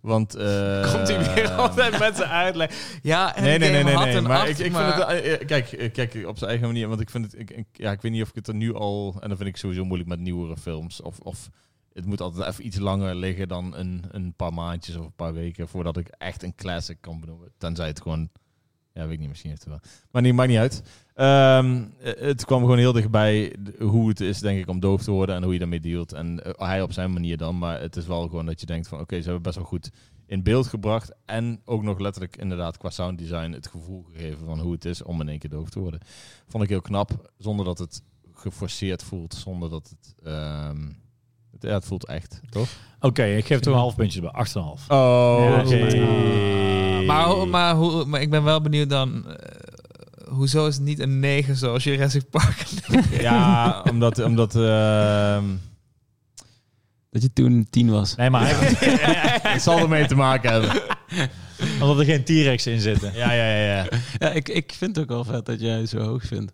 Want... eh, Oh. Komt hij weer altijd met zijn uitleg. Ja, en Nee, nee, nee, nee, had nee. een Maar acht, ik, ik maar- vind het... eh, eh, Kijk, eh, kijk, op zijn eigen manier. Want ik vind het... Ik, ik- ja, ik weet niet of ik het er nu al... En dat vind ik sowieso moeilijk met nieuwere films. Of, of het moet altijd even iets langer liggen dan een, een paar maandjes of een paar weken... voordat ik echt een classic kan benoemen. Tenzij het gewoon... Ja, weet ik niet. Misschien heeft het wel. Maar nee, maakt niet uit. Ehm, eh, het kwam gewoon heel dichtbij d- hoe het is, denk ik, om doof te worden en hoe je daarmee dealt. En eh, hij op zijn manier dan. Maar het is wel gewoon dat je denkt van oké, ze hebben best wel goed in beeld gebracht. En ook nog letterlijk inderdaad qua sound design het gevoel gegeven van hoe het is om in één keer doof te worden. Vond ik heel knap. Zonder dat het geforceerd voelt. Zonder dat het... ehm, het ja, het voelt echt, toch? Oké, ik geef er een half puntje bij. 8,5. Oh, Ah. oké. Maar, Ehm. ho- maar, hoe, maar ik ben wel benieuwd dan... eh, hoezo is het niet een 9 zoals Jurassic Park? Ja, omdat... omdat ehm, Dat je toen tien was. Nee, maar hij- het zal ermee te maken hebben. omdat er geen T-Rex in zitten. Ja, ja, ja. ja. Ja, ik, ik vind het ook wel vet dat jij het zo hoog vindt.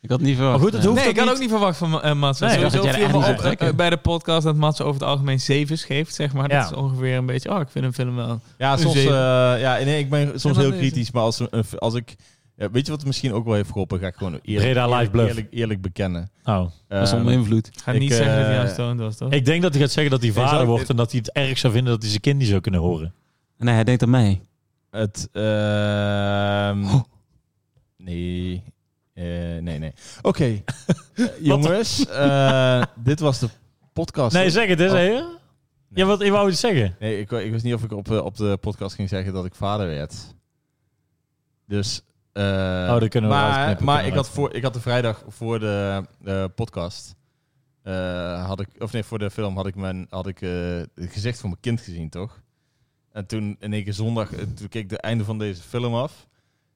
Ik had niet Maar verwacht. goed, het hoeft nee, ook ik had niet. ook niet verwacht van eh Mats. Nee, ik dacht Sowieso dat jij viel me er echt op niet zou eh, trekken. bij de podcast dat Mats over het algemeen zevens geeft, zeg maar. Ja. Dat is ongeveer een beetje... Oh, ik vind een film wel... Ja, Een soms, eh, zeven. ja nee, ik ben soms dan heel is kritisch, maar als, een- als ik... ja, weet je wat het misschien ook wel heeft geholpen? Ga ik gewoon eerlijk, Breda Live eerlijk, Bluff. eerlijk, eerlijk bekennen. Oh. Dat is Ehm, onder invloed. Ik ga Ik, niet zeggen dat hij eh, aan stoned was, toch? Ik denk dat hij gaat zeggen dat hij zou- vader wordt en dat hij het erg zou vinden dat hij zijn kind niet zou kunnen horen. Nee, hij denkt aan mij. Het. ehm, Nee. Eh, nee, nee. Oké. Eh, jongens, eh, dit was de podcast. Nee, zeg het eens, Oh. hè? Ja, wat, ik wou iets zeggen. Nee, ik, wou- ik wist niet of ik op, eh, op de podcast ging zeggen dat ik vader werd. Dus. eh, Oh, dat kunnen we maar, uitknippen, Maar kunnen we ik had, voor, ik had de vrijdag voor de eh, podcast. eh, had ik, of nee, voor de film had ik, mijn, had ik eh, het gezicht van mijn kind gezien, toch? En toen in één keer zondag, eh, toen keek ik de einde van deze film af.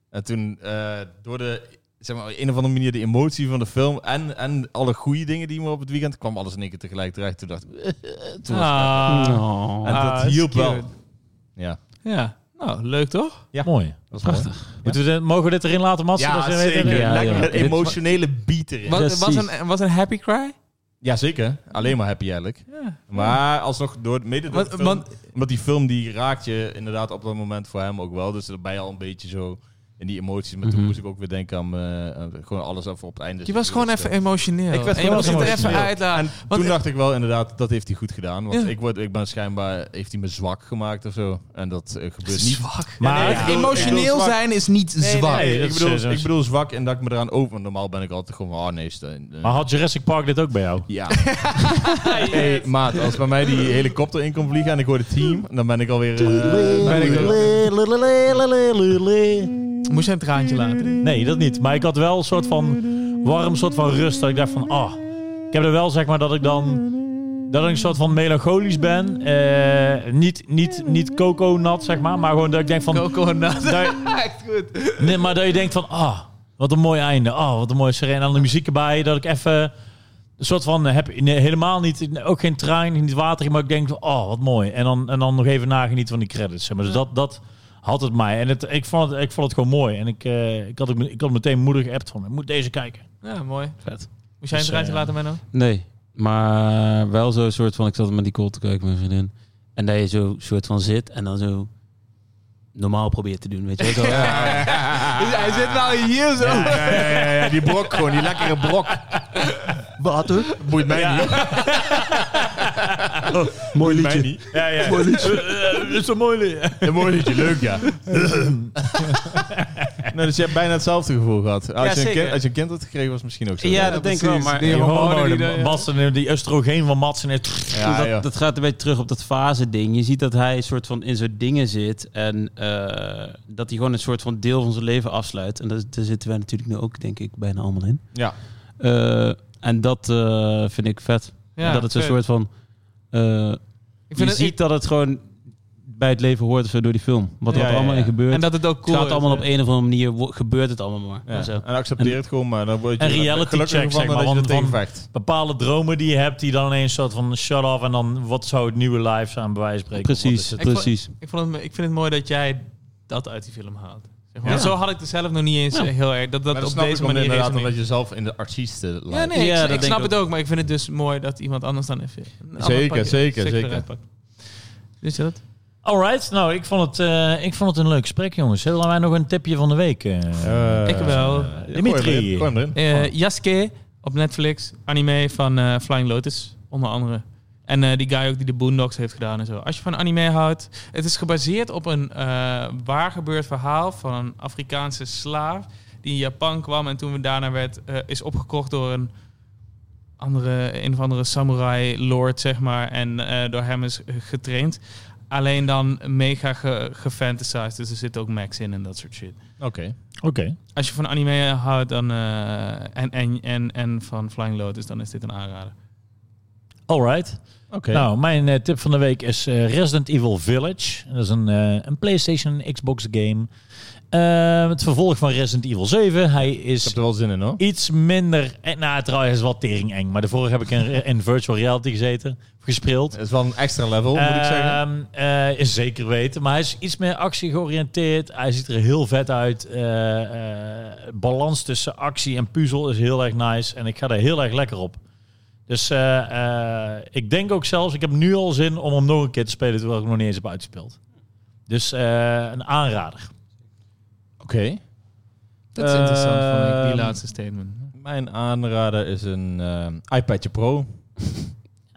En toen eh, door de, zeg maar, op een of andere manier de emotie van de film en, en alle goede dingen die me op het weekend kwam alles in één keer tegelijk terecht. Toen dacht ik, Eh, toen was- Ah. Oh. en Ah, dat dat is hielp wel. cute. Ja, Ja. Nou, leuk toch? Ja. Mooi. dat was mooi. Prachtig. Moeten we dit, mogen we dit erin laten, Mats? Ja, Dat ze weten- zeker. Ja, Lekker ja. een emotionele beat erin. Was, was, Precies. een, was een happy cry? Ja, zeker. Alleen maar happy eigenlijk. Ja. Maar alsnog, door, mede door Want- de film, want- omdat die film die raakt je inderdaad op dat moment voor hem ook wel. Dus dan ben je al een beetje zo in die emoties. Maar toen Mhm. moest ik ook weer denken aan eh, aan gewoon alles even op het einde. Je was gewoon even emotioneel. Ik werd en je gewoon moest het er even emotioneel. uitlaten. En want- toen dacht ik wel inderdaad, dat heeft hij goed gedaan. Want Ja. ik, word, ik ben schijnbaar, heeft hij me zwak gemaakt of zo. En dat eh, gebeurt niet. Zwak. Maar- ik bedoel- ik bedoel emotioneel zwak. zijn is niet Nee, nee, zwak. nee, dat ik, is bedoel, sowieso. ik bedoel zwak en dat ik me eraan over. Normaal ben ik altijd gewoon van, oh nee, steun. eh, Maar had Jurassic Park dit ook bij jou? Ja. hey, maat, als bij mij die helikopter in komt vliegen en ik hoor het team, dan ben ik alweer... eh, ben ik er- Moest je een traantje laten? Nee, dat niet. Maar ik had wel een soort van warm soort van rust. Dat ik dacht van, ah, ik heb er wel zeg maar dat ik dan... Dat ik een soort van melancholisch ben. Eh, niet, niet, niet coco-nat, zeg maar. Maar gewoon dat ik denk van... Coco en Nat. dat- Echt goed. Nee, maar dat je denkt van, ah, wat een mooi einde. Ah, wat een mooie serene. En dan de muziek erbij. Dat ik even een soort van, heb nee, helemaal niet, ook geen trein, niet water. Maar ik denk, van, oh, wat mooi. En dan, en dan nog even nagenieten van die credits. Zeg maar. Dus dat, dat had het mij. En het, ik, vond het, ik vond het gewoon mooi. En ik, eh, ik, had, ook me- ik had meteen moeder geappt van, ik moet deze kijken. Ja, mooi. Vet. Moest jij een Dus, traantje eh, laten, Menno? Nee. Maar eh, wel zo'n soort van, ik zat met die kool te kijken, mijn vriendin. En dat je zo soort van zit en dan zo normaal probeert te doen, weet je wel. Zo- Dus hij zit wel hier zo. Ja, ja, ja, ja, die brok gewoon, die lekkere brok. Wat hoor? Boeit mij niet. eh, Mooi Mij liedje. niet. Ja, ja. Mooi Eh, is zo mooi Een mooi liedje, leuk ja. nou, dus je hebt bijna hetzelfde gevoel gehad. Als, Ja, je, een zeker. kind, als je een kind had gekregen, was het misschien ook zo. Ja, dat denk ik wel, precies. maar Die ja, hormonen die, die er- ja. Matsen, die oestrogeen van Matsen. en- Ja, dat, joh. dat gaat een beetje terug op dat fase ding. Je ziet dat hij een soort van in zo'n dingen zit en eh, dat hij gewoon een soort van deel van zijn leven afsluit. En dat, daar zitten wij natuurlijk nu ook, denk ik, bijna allemaal in. Ja. Eh, en dat eh, vind ik vet. Ja, dat het zo'n vet. soort van... eh, Ik je vind het- ziet dat het gewoon bij het leven hoort of zo door die film. Wat Ja, er ja, allemaal ja. in gebeurt. en dat het ook het cool dus, gaat is, allemaal hè? op een of andere manier, wo- gebeurt het allemaal maar. Ja. En zo. En accepteer het gewoon, maar dan word je Een er reality gelukkiger check, van zeg maar, dat je want- er tegen van- vecht. Bepaalde dromen die je hebt, die dan ineens soort van shut off. En dan wat zou het nieuwe live zijn, bij wijze van spreken. Wat Precies, is het? Ik vond- precies. Ik, vond het, ik vind het mooi dat jij dat uit die film haalt. Zeg maar. Ja. Want Zo had ik het zelf nog niet eens Ja. eh, heel erg. Dat dat Maar op snap deze ik, omdat manier inderdaad, resoneert. omdat je zelf in de artiesten Ja, lijkt. nee, Ja, ik- dat ik, denk snap ik het ook. Maar ik vind het dus mooi dat iemand anders dan even... een ander Zeker, pakje- zeker, zeker. eruit pakt. Dus dat? Alright, nou, ik vond, het, eh, ik vond het een leuk gesprek, jongens. Zullen wij nog een tipje van de week? eh, Eh, ik wel. eh, gooi Dimitri. hem erin, gooi hem erin. Eh Yasuke op Netflix. Anime van eh, Flying Lotus, onder andere. En eh, die guy ook die de Boondocks heeft gedaan en zo. Als je van anime houdt... Het is gebaseerd op een eh waar gebeurd verhaal van een Afrikaanse slaaf... die in Japan kwam en toen we daarna werd... eh, is opgekocht door een andere, een of andere samurai lord, zeg maar. En eh, door hem is getraind. Alleen dan mega ge gefantasized. Dus er zit ook Max in en dat soort shit Oké. Oké. als je van anime houdt dan, eh, en, en, en, en van Flying Lotus, dan is dit een aanrader. Alright. Oké. Nou, mijn eh, tip van de week is eh, Resident Evil Village. Dat is een, eh, een PlayStation en Xbox game. Eh, het vervolg van Resident Evil 7. Hij Ik is heb er wel zin in hoor. iets minder... eh, Nou, trouwens, hij is wel tering eng. Maar daarvoor heb ik in, in virtual reality gezeten. of Gespeeld. Het is wel een extra level, moet ik zeggen. Ehm, eh, is zeker weten. Maar hij is iets meer actie georiënteerd. Hij ziet er heel vet uit. Eh, eh, balans tussen actie en puzzel is heel erg nice. En ik ga er heel erg lekker op. Dus eh, eh, ik denk ook zelfs, ik heb nu al zin om hem nog een keer te spelen terwijl ik hem nog niet eens heb uitgespeeld. Dus eh, een aanrader. Oké. Dat is interessant, vond ik, Ehm, die laatste statement. Mijn aanrader is een eh, iPadje Pro.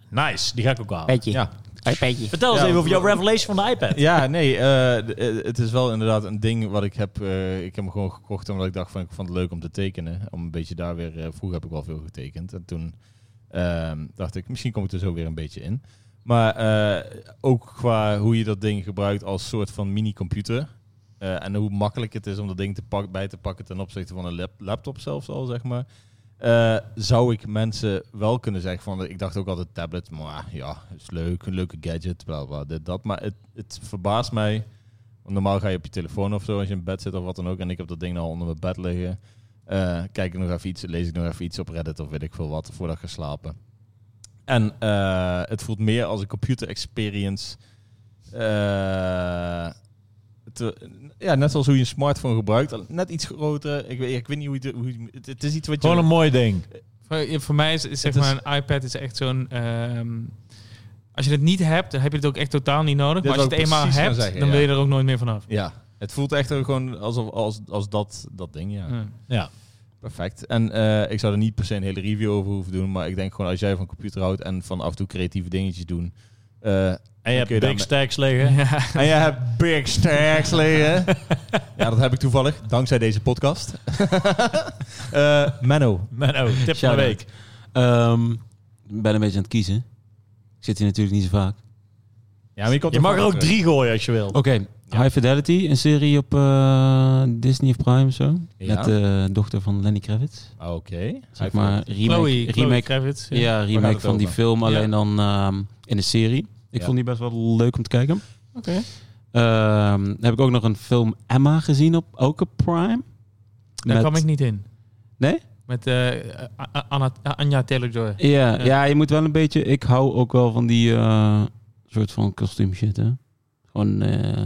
Nice, die ga ik ook halen. Petje. Ja. Hoi, petje. Vertel eens Ja, even over jouw wel- revelation van de iPad. Ja, nee, eh, d- eh, het is wel inderdaad een ding wat ik heb. eh, ik heb hem gewoon gekocht omdat ik dacht van ik vond het leuk om te tekenen. Om een beetje daar weer. eh, vroeger heb ik wel veel getekend. En toen ehm, dacht ik, misschien kom ik er zo weer een beetje in. Maar eh, ook qua hoe je dat ding gebruikt als soort van mini-computer. Eh, en hoe makkelijk het is om dat ding te pak, bij te pakken ten opzichte van een lap- laptop zelfs al, zeg maar. Eh, zou ik mensen wel kunnen zeggen van, ik dacht ook altijd tablet, maar ja, is leuk, een leuke gadget, bla bla, dit, dat. Maar het, het verbaast mij, want normaal ga je op je telefoon of zo als je in bed zit of wat dan ook, en ik heb dat ding nou onder mijn bed liggen. Eh, kijk ik nog even iets, lees ik nog even iets op Reddit of weet ik veel wat, voordat ik ga slapen. En eh, het voelt meer als een computer experience. Eh, te- ja, net zoals hoe je een smartphone gebruikt. Net iets groter. Ik weet, ik weet niet hoe je... het- Hoe, je- het, het is iets wat je... Gewoon een mooi ding. Voor, ja, voor mij is, is zeg Het is- maar een iPad is echt zo'n... ehm, als je het niet hebt, dan heb je het ook echt totaal niet nodig. Dit Maar als je wou het ik eenmaal precies hebt, gaan zeggen, dan ja. wil je er ook nooit meer vanaf. Ja, het voelt echt gewoon alsof als, als dat, dat ding, ja. Ja. Ja. Perfect. En eh, ik zou er niet per se een hele review over hoeven doen, maar ik denk gewoon als jij van computer houdt en van af en toe creatieve dingetjes doen. eh, En je hebt kun je big daarmee- stacks liggen. en jij hebt big stacks liggen. ja, dat heb ik toevallig, dankzij deze podcast. Eh Menno. Man, oh, tip van de Shout-out. week. Ehm, ik ben een beetje aan het kiezen. Ik zit hier natuurlijk niet zo vaak. Ja, maar je, komt Je mag er ook drie gooien als je wil. Oké, High Fidelity, een serie op eh, Disney of Prime of zo. Ja. Met de dochter van Lenny Kravitz. Ah, Oké. Zeg maar remake, Chloe, remake, Chloe Kravitz. ja, remake het van die over? film, alleen Ja. dan ehm, in de serie. Ik Ja. vond die best wel leuk om te kijken. Oké. Ehm, dan heb ik ook nog een film Emma gezien, op, ook op Prime. Daar Met- kwam ik niet in. Nee? Met eh, A- A- Anna- A- Anya Taylor-Joy. Ja, Ja. ja. je moet wel een beetje... Ik hou ook wel van die eh, soort van kostuum shit, hè. Gewoon eh,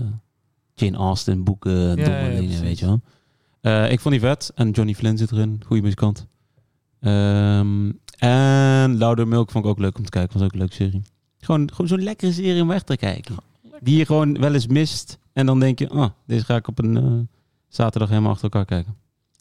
Jane Austen boeken, domme ja, dingen, precies. weet je wel. Eh, ik vond die vet. En Johnny Flynn zit erin. Goede muzikant. Ehm, En Louder Milk vond ik ook leuk om te kijken. Was ook een leuke serie. Gewoon, gewoon zo'n lekkere serie om weg te kijken. Die je gewoon wel eens mist. En dan denk je, oh, deze ga ik op een eh, zaterdag helemaal achter elkaar kijken.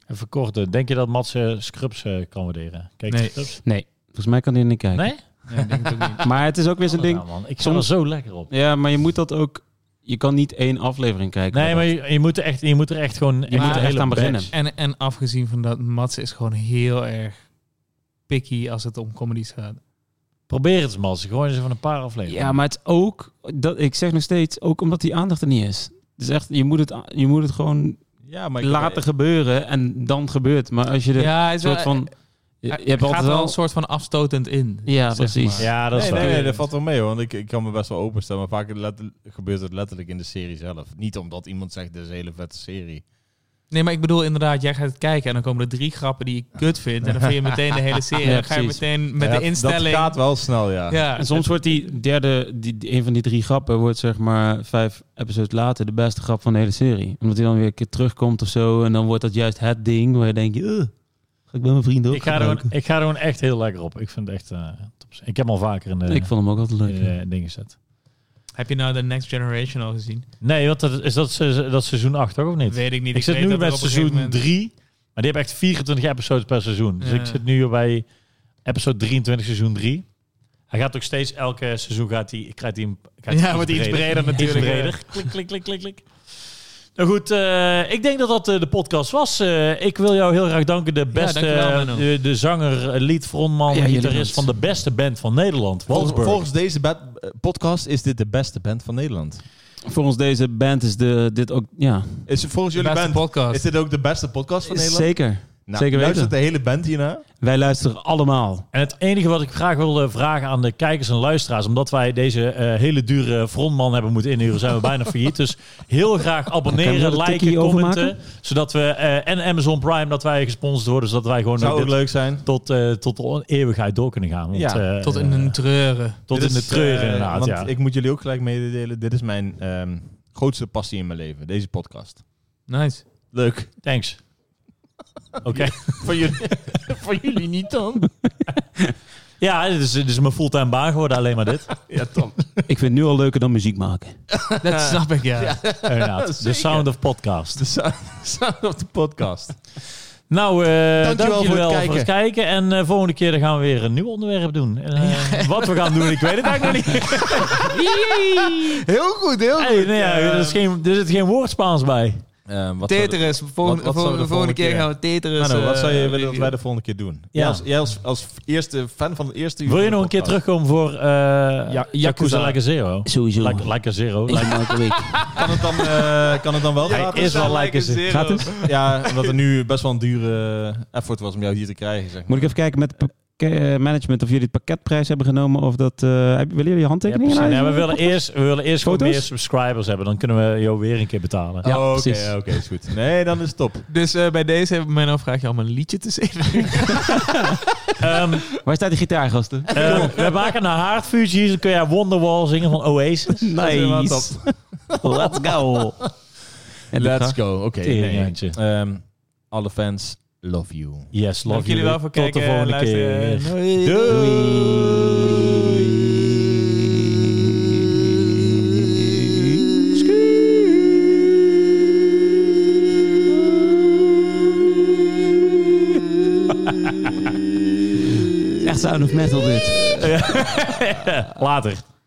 Even kort, eh, denk je dat Mats eh, Scrubs eh, kan waarderen? Kijk, Nee. Scrubs? Nee. Volgens mij kan die niet kijken. Nee? Nee, denk ik ook niet. Maar het is ook weer zo'n ding. Nou, man. Ik Soms- soms er zo lekker op. Ja, maar je moet dat ook... Je kan niet één aflevering kijken. Nee, maar je, je moet er echt, je moet er echt gewoon... Je moet er echt aan beginnen. En, en afgezien van dat, Mats is gewoon heel erg picky als het om comedies gaat. Probeer het eens, Mats. Gewoon eens van een paar afleveringen. Ja, maar het is ook... Dat, ik zeg nog steeds, ook omdat die aandacht er niet is. Dus echt, je moet het, a- je moet het gewoon Ja, maar ik- laten gebeuren. En dan gebeurt Maar als je er ja, hij een is eh, soort van... Je, je hebt altijd gaat wel wel... een soort van afstotend in. Ja, zeg precies. maar. Ja, dat is Nee, waar. nee, nee, dat valt wel mee hoor. Want ik, ik kan me best wel openstellen. Maar vaak let- gebeurt het letterlijk in de serie zelf. Niet omdat iemand zegt, dit is een hele vette serie. Nee, maar ik bedoel inderdaad, jij gaat het kijken en dan komen er drie grappen die je kut vindt. En dan vind je meteen de hele serie. Ja, En dan ga je precies. meteen met Ja, de dat- instelling. Dat gaat wel snel, ja. ja, En soms wordt die derde, die, die- een van die drie grappen, wordt zeg maar vijf episodes later de beste grap van de hele serie. Omdat hij dan weer een keer terugkomt of zo. En dan wordt dat juist het ding waar je denkt, "Ugh, ga ik bij mijn vrienden ook Ik ga, er gebruiken?" gewoon, ik ga er gewoon echt heel lekker op. Ik vind het echt eh, top. Ik heb hem al vaker in de, Ik vond hem ook altijd leuk. in de dingen gezet. Heb je nou de Next Generation al gezien? Nee, want dat, is dat, se- dat seizoen 8 toch, of niet? Weet ik niet. ik zit weet nu dat er met op een gegeven seizoen moment- 3. Maar die hebben echt 24 episodes per seizoen. Dus Ja. ik zit nu bij episode 23, seizoen 3. Hij gaat ook steeds, elke seizoen gaat hij, krijgt hij hem krijgt hij Ja, wordt iets breder Iets natuurlijk. breder. Klik, klik, klik, klik, klik. Nou goed, eh, ik denk dat dat eh, de podcast was. Eh, ik wil jou heel graag danken. De beste, dankjewel, eh, Menno. de, de zanger, eh, lead, frontman, Ja, jullie gitarist van dank. de beste band van Nederland. Volgens, Wolfsburg. volgens deze bad- eh, podcast is dit de beste band van Nederland. Volgens deze band is de, dit ook, ja, Is, volgens De jullie beste band, podcast. is dit ook de beste podcast van Nederland? zeker. Nou, zeker weten. Luistert de hele band hierna? Wij luisteren allemaal. En het enige wat ik graag wil eh, vragen aan de kijkers en luisteraars, omdat wij deze eh, hele dure frontman hebben moeten inhuren, zijn we bijna failliet. Dus heel graag Kan abonneren, je er een liken, tikkie over commenten, maken? zodat we eh, en Amazon Prime dat wij gesponsord worden, zodat wij gewoon Zou ook ook dit leuk zijn. tot eh, tot de eeuwigheid door kunnen gaan. Want, Ja, eh, Tot in een treuren. tot Dit in de is, treuren eh, inderdaad. Want Ja. ik moet jullie ook gelijk mededelen. Dit is mijn ehm, grootste passie in mijn leven. Deze podcast. Nice. Leuk. Thanks. Oké. Van jullie, van jullie niet dan? Ja, dit is, dit is mijn fulltime baan geworden, alleen maar dit. Ja, Tom. Ik vind het nu al leuker dan muziek maken. Dat snap ik, ja. Inderdaad. De Zeker. Sound of Podcast. De sound, sound of the podcast. Nou, eh Dankjewel dankjewel, voor het voor, het kijken. En eh, volgende keer dan gaan we weer een nieuw onderwerp doen. En, eh, Wat we gaan doen, ik weet het eigenlijk nog niet. Heel goed, heel goed. Hey, nee, ja, er, is geen, er zit geen woord Spaans bij. Ehm, wat zou- Teteris. Volgende, wat- wat zouden we de volgende, volgende keer volgende gaan we Teteris. Mano, wat eh, zou je willen dat reviewen. wij de volgende keer doen? Ja. Jij, als, jij als, als eerste fan van de eerste uur Wil je van de nog een keer podcast. terugkomen voor eh ja, Yakuza Yakuza. Like a Zero? Sowieso. Like, like a Zero. Like- Elke week. Kan het dan, eh, kan het dan wel Hij gratis? is wel like a Zero. Gaat het? Ja, omdat er nu best wel een dure eh, effort was om jou hier te krijgen. Zeg maar. Moet ik even kijken met het pakk- eh, management of jullie het pakketprijs hebben genomen of dat... eh, heb- willen jullie Ja, handtekeningen? precies. aan? Nee, we willen eerst, we willen eerst gewoon Foto's? meer subscribers hebben. Dan kunnen we jou weer een keer betalen. Ja, Oh, Oké, precies. oké, is goed. Nee, dan is het top. Dus eh, bij deze hebben mijn vraag je om een liedje te zingen. Ehm, Waar staat die gitaar, gasten? ehm, we maken een haardfusie. Dan kun jij Wonderwall zingen van Oasis. Nice. Let's go. En dit Let's gaat- go. Oké. nee. Teringhandje. Ehm, alle fans, love you. Yes, love Dank jullie wel voor Tot kijken. de volgende luisteren. keer. Doei. Echt sound of metal dit. Later.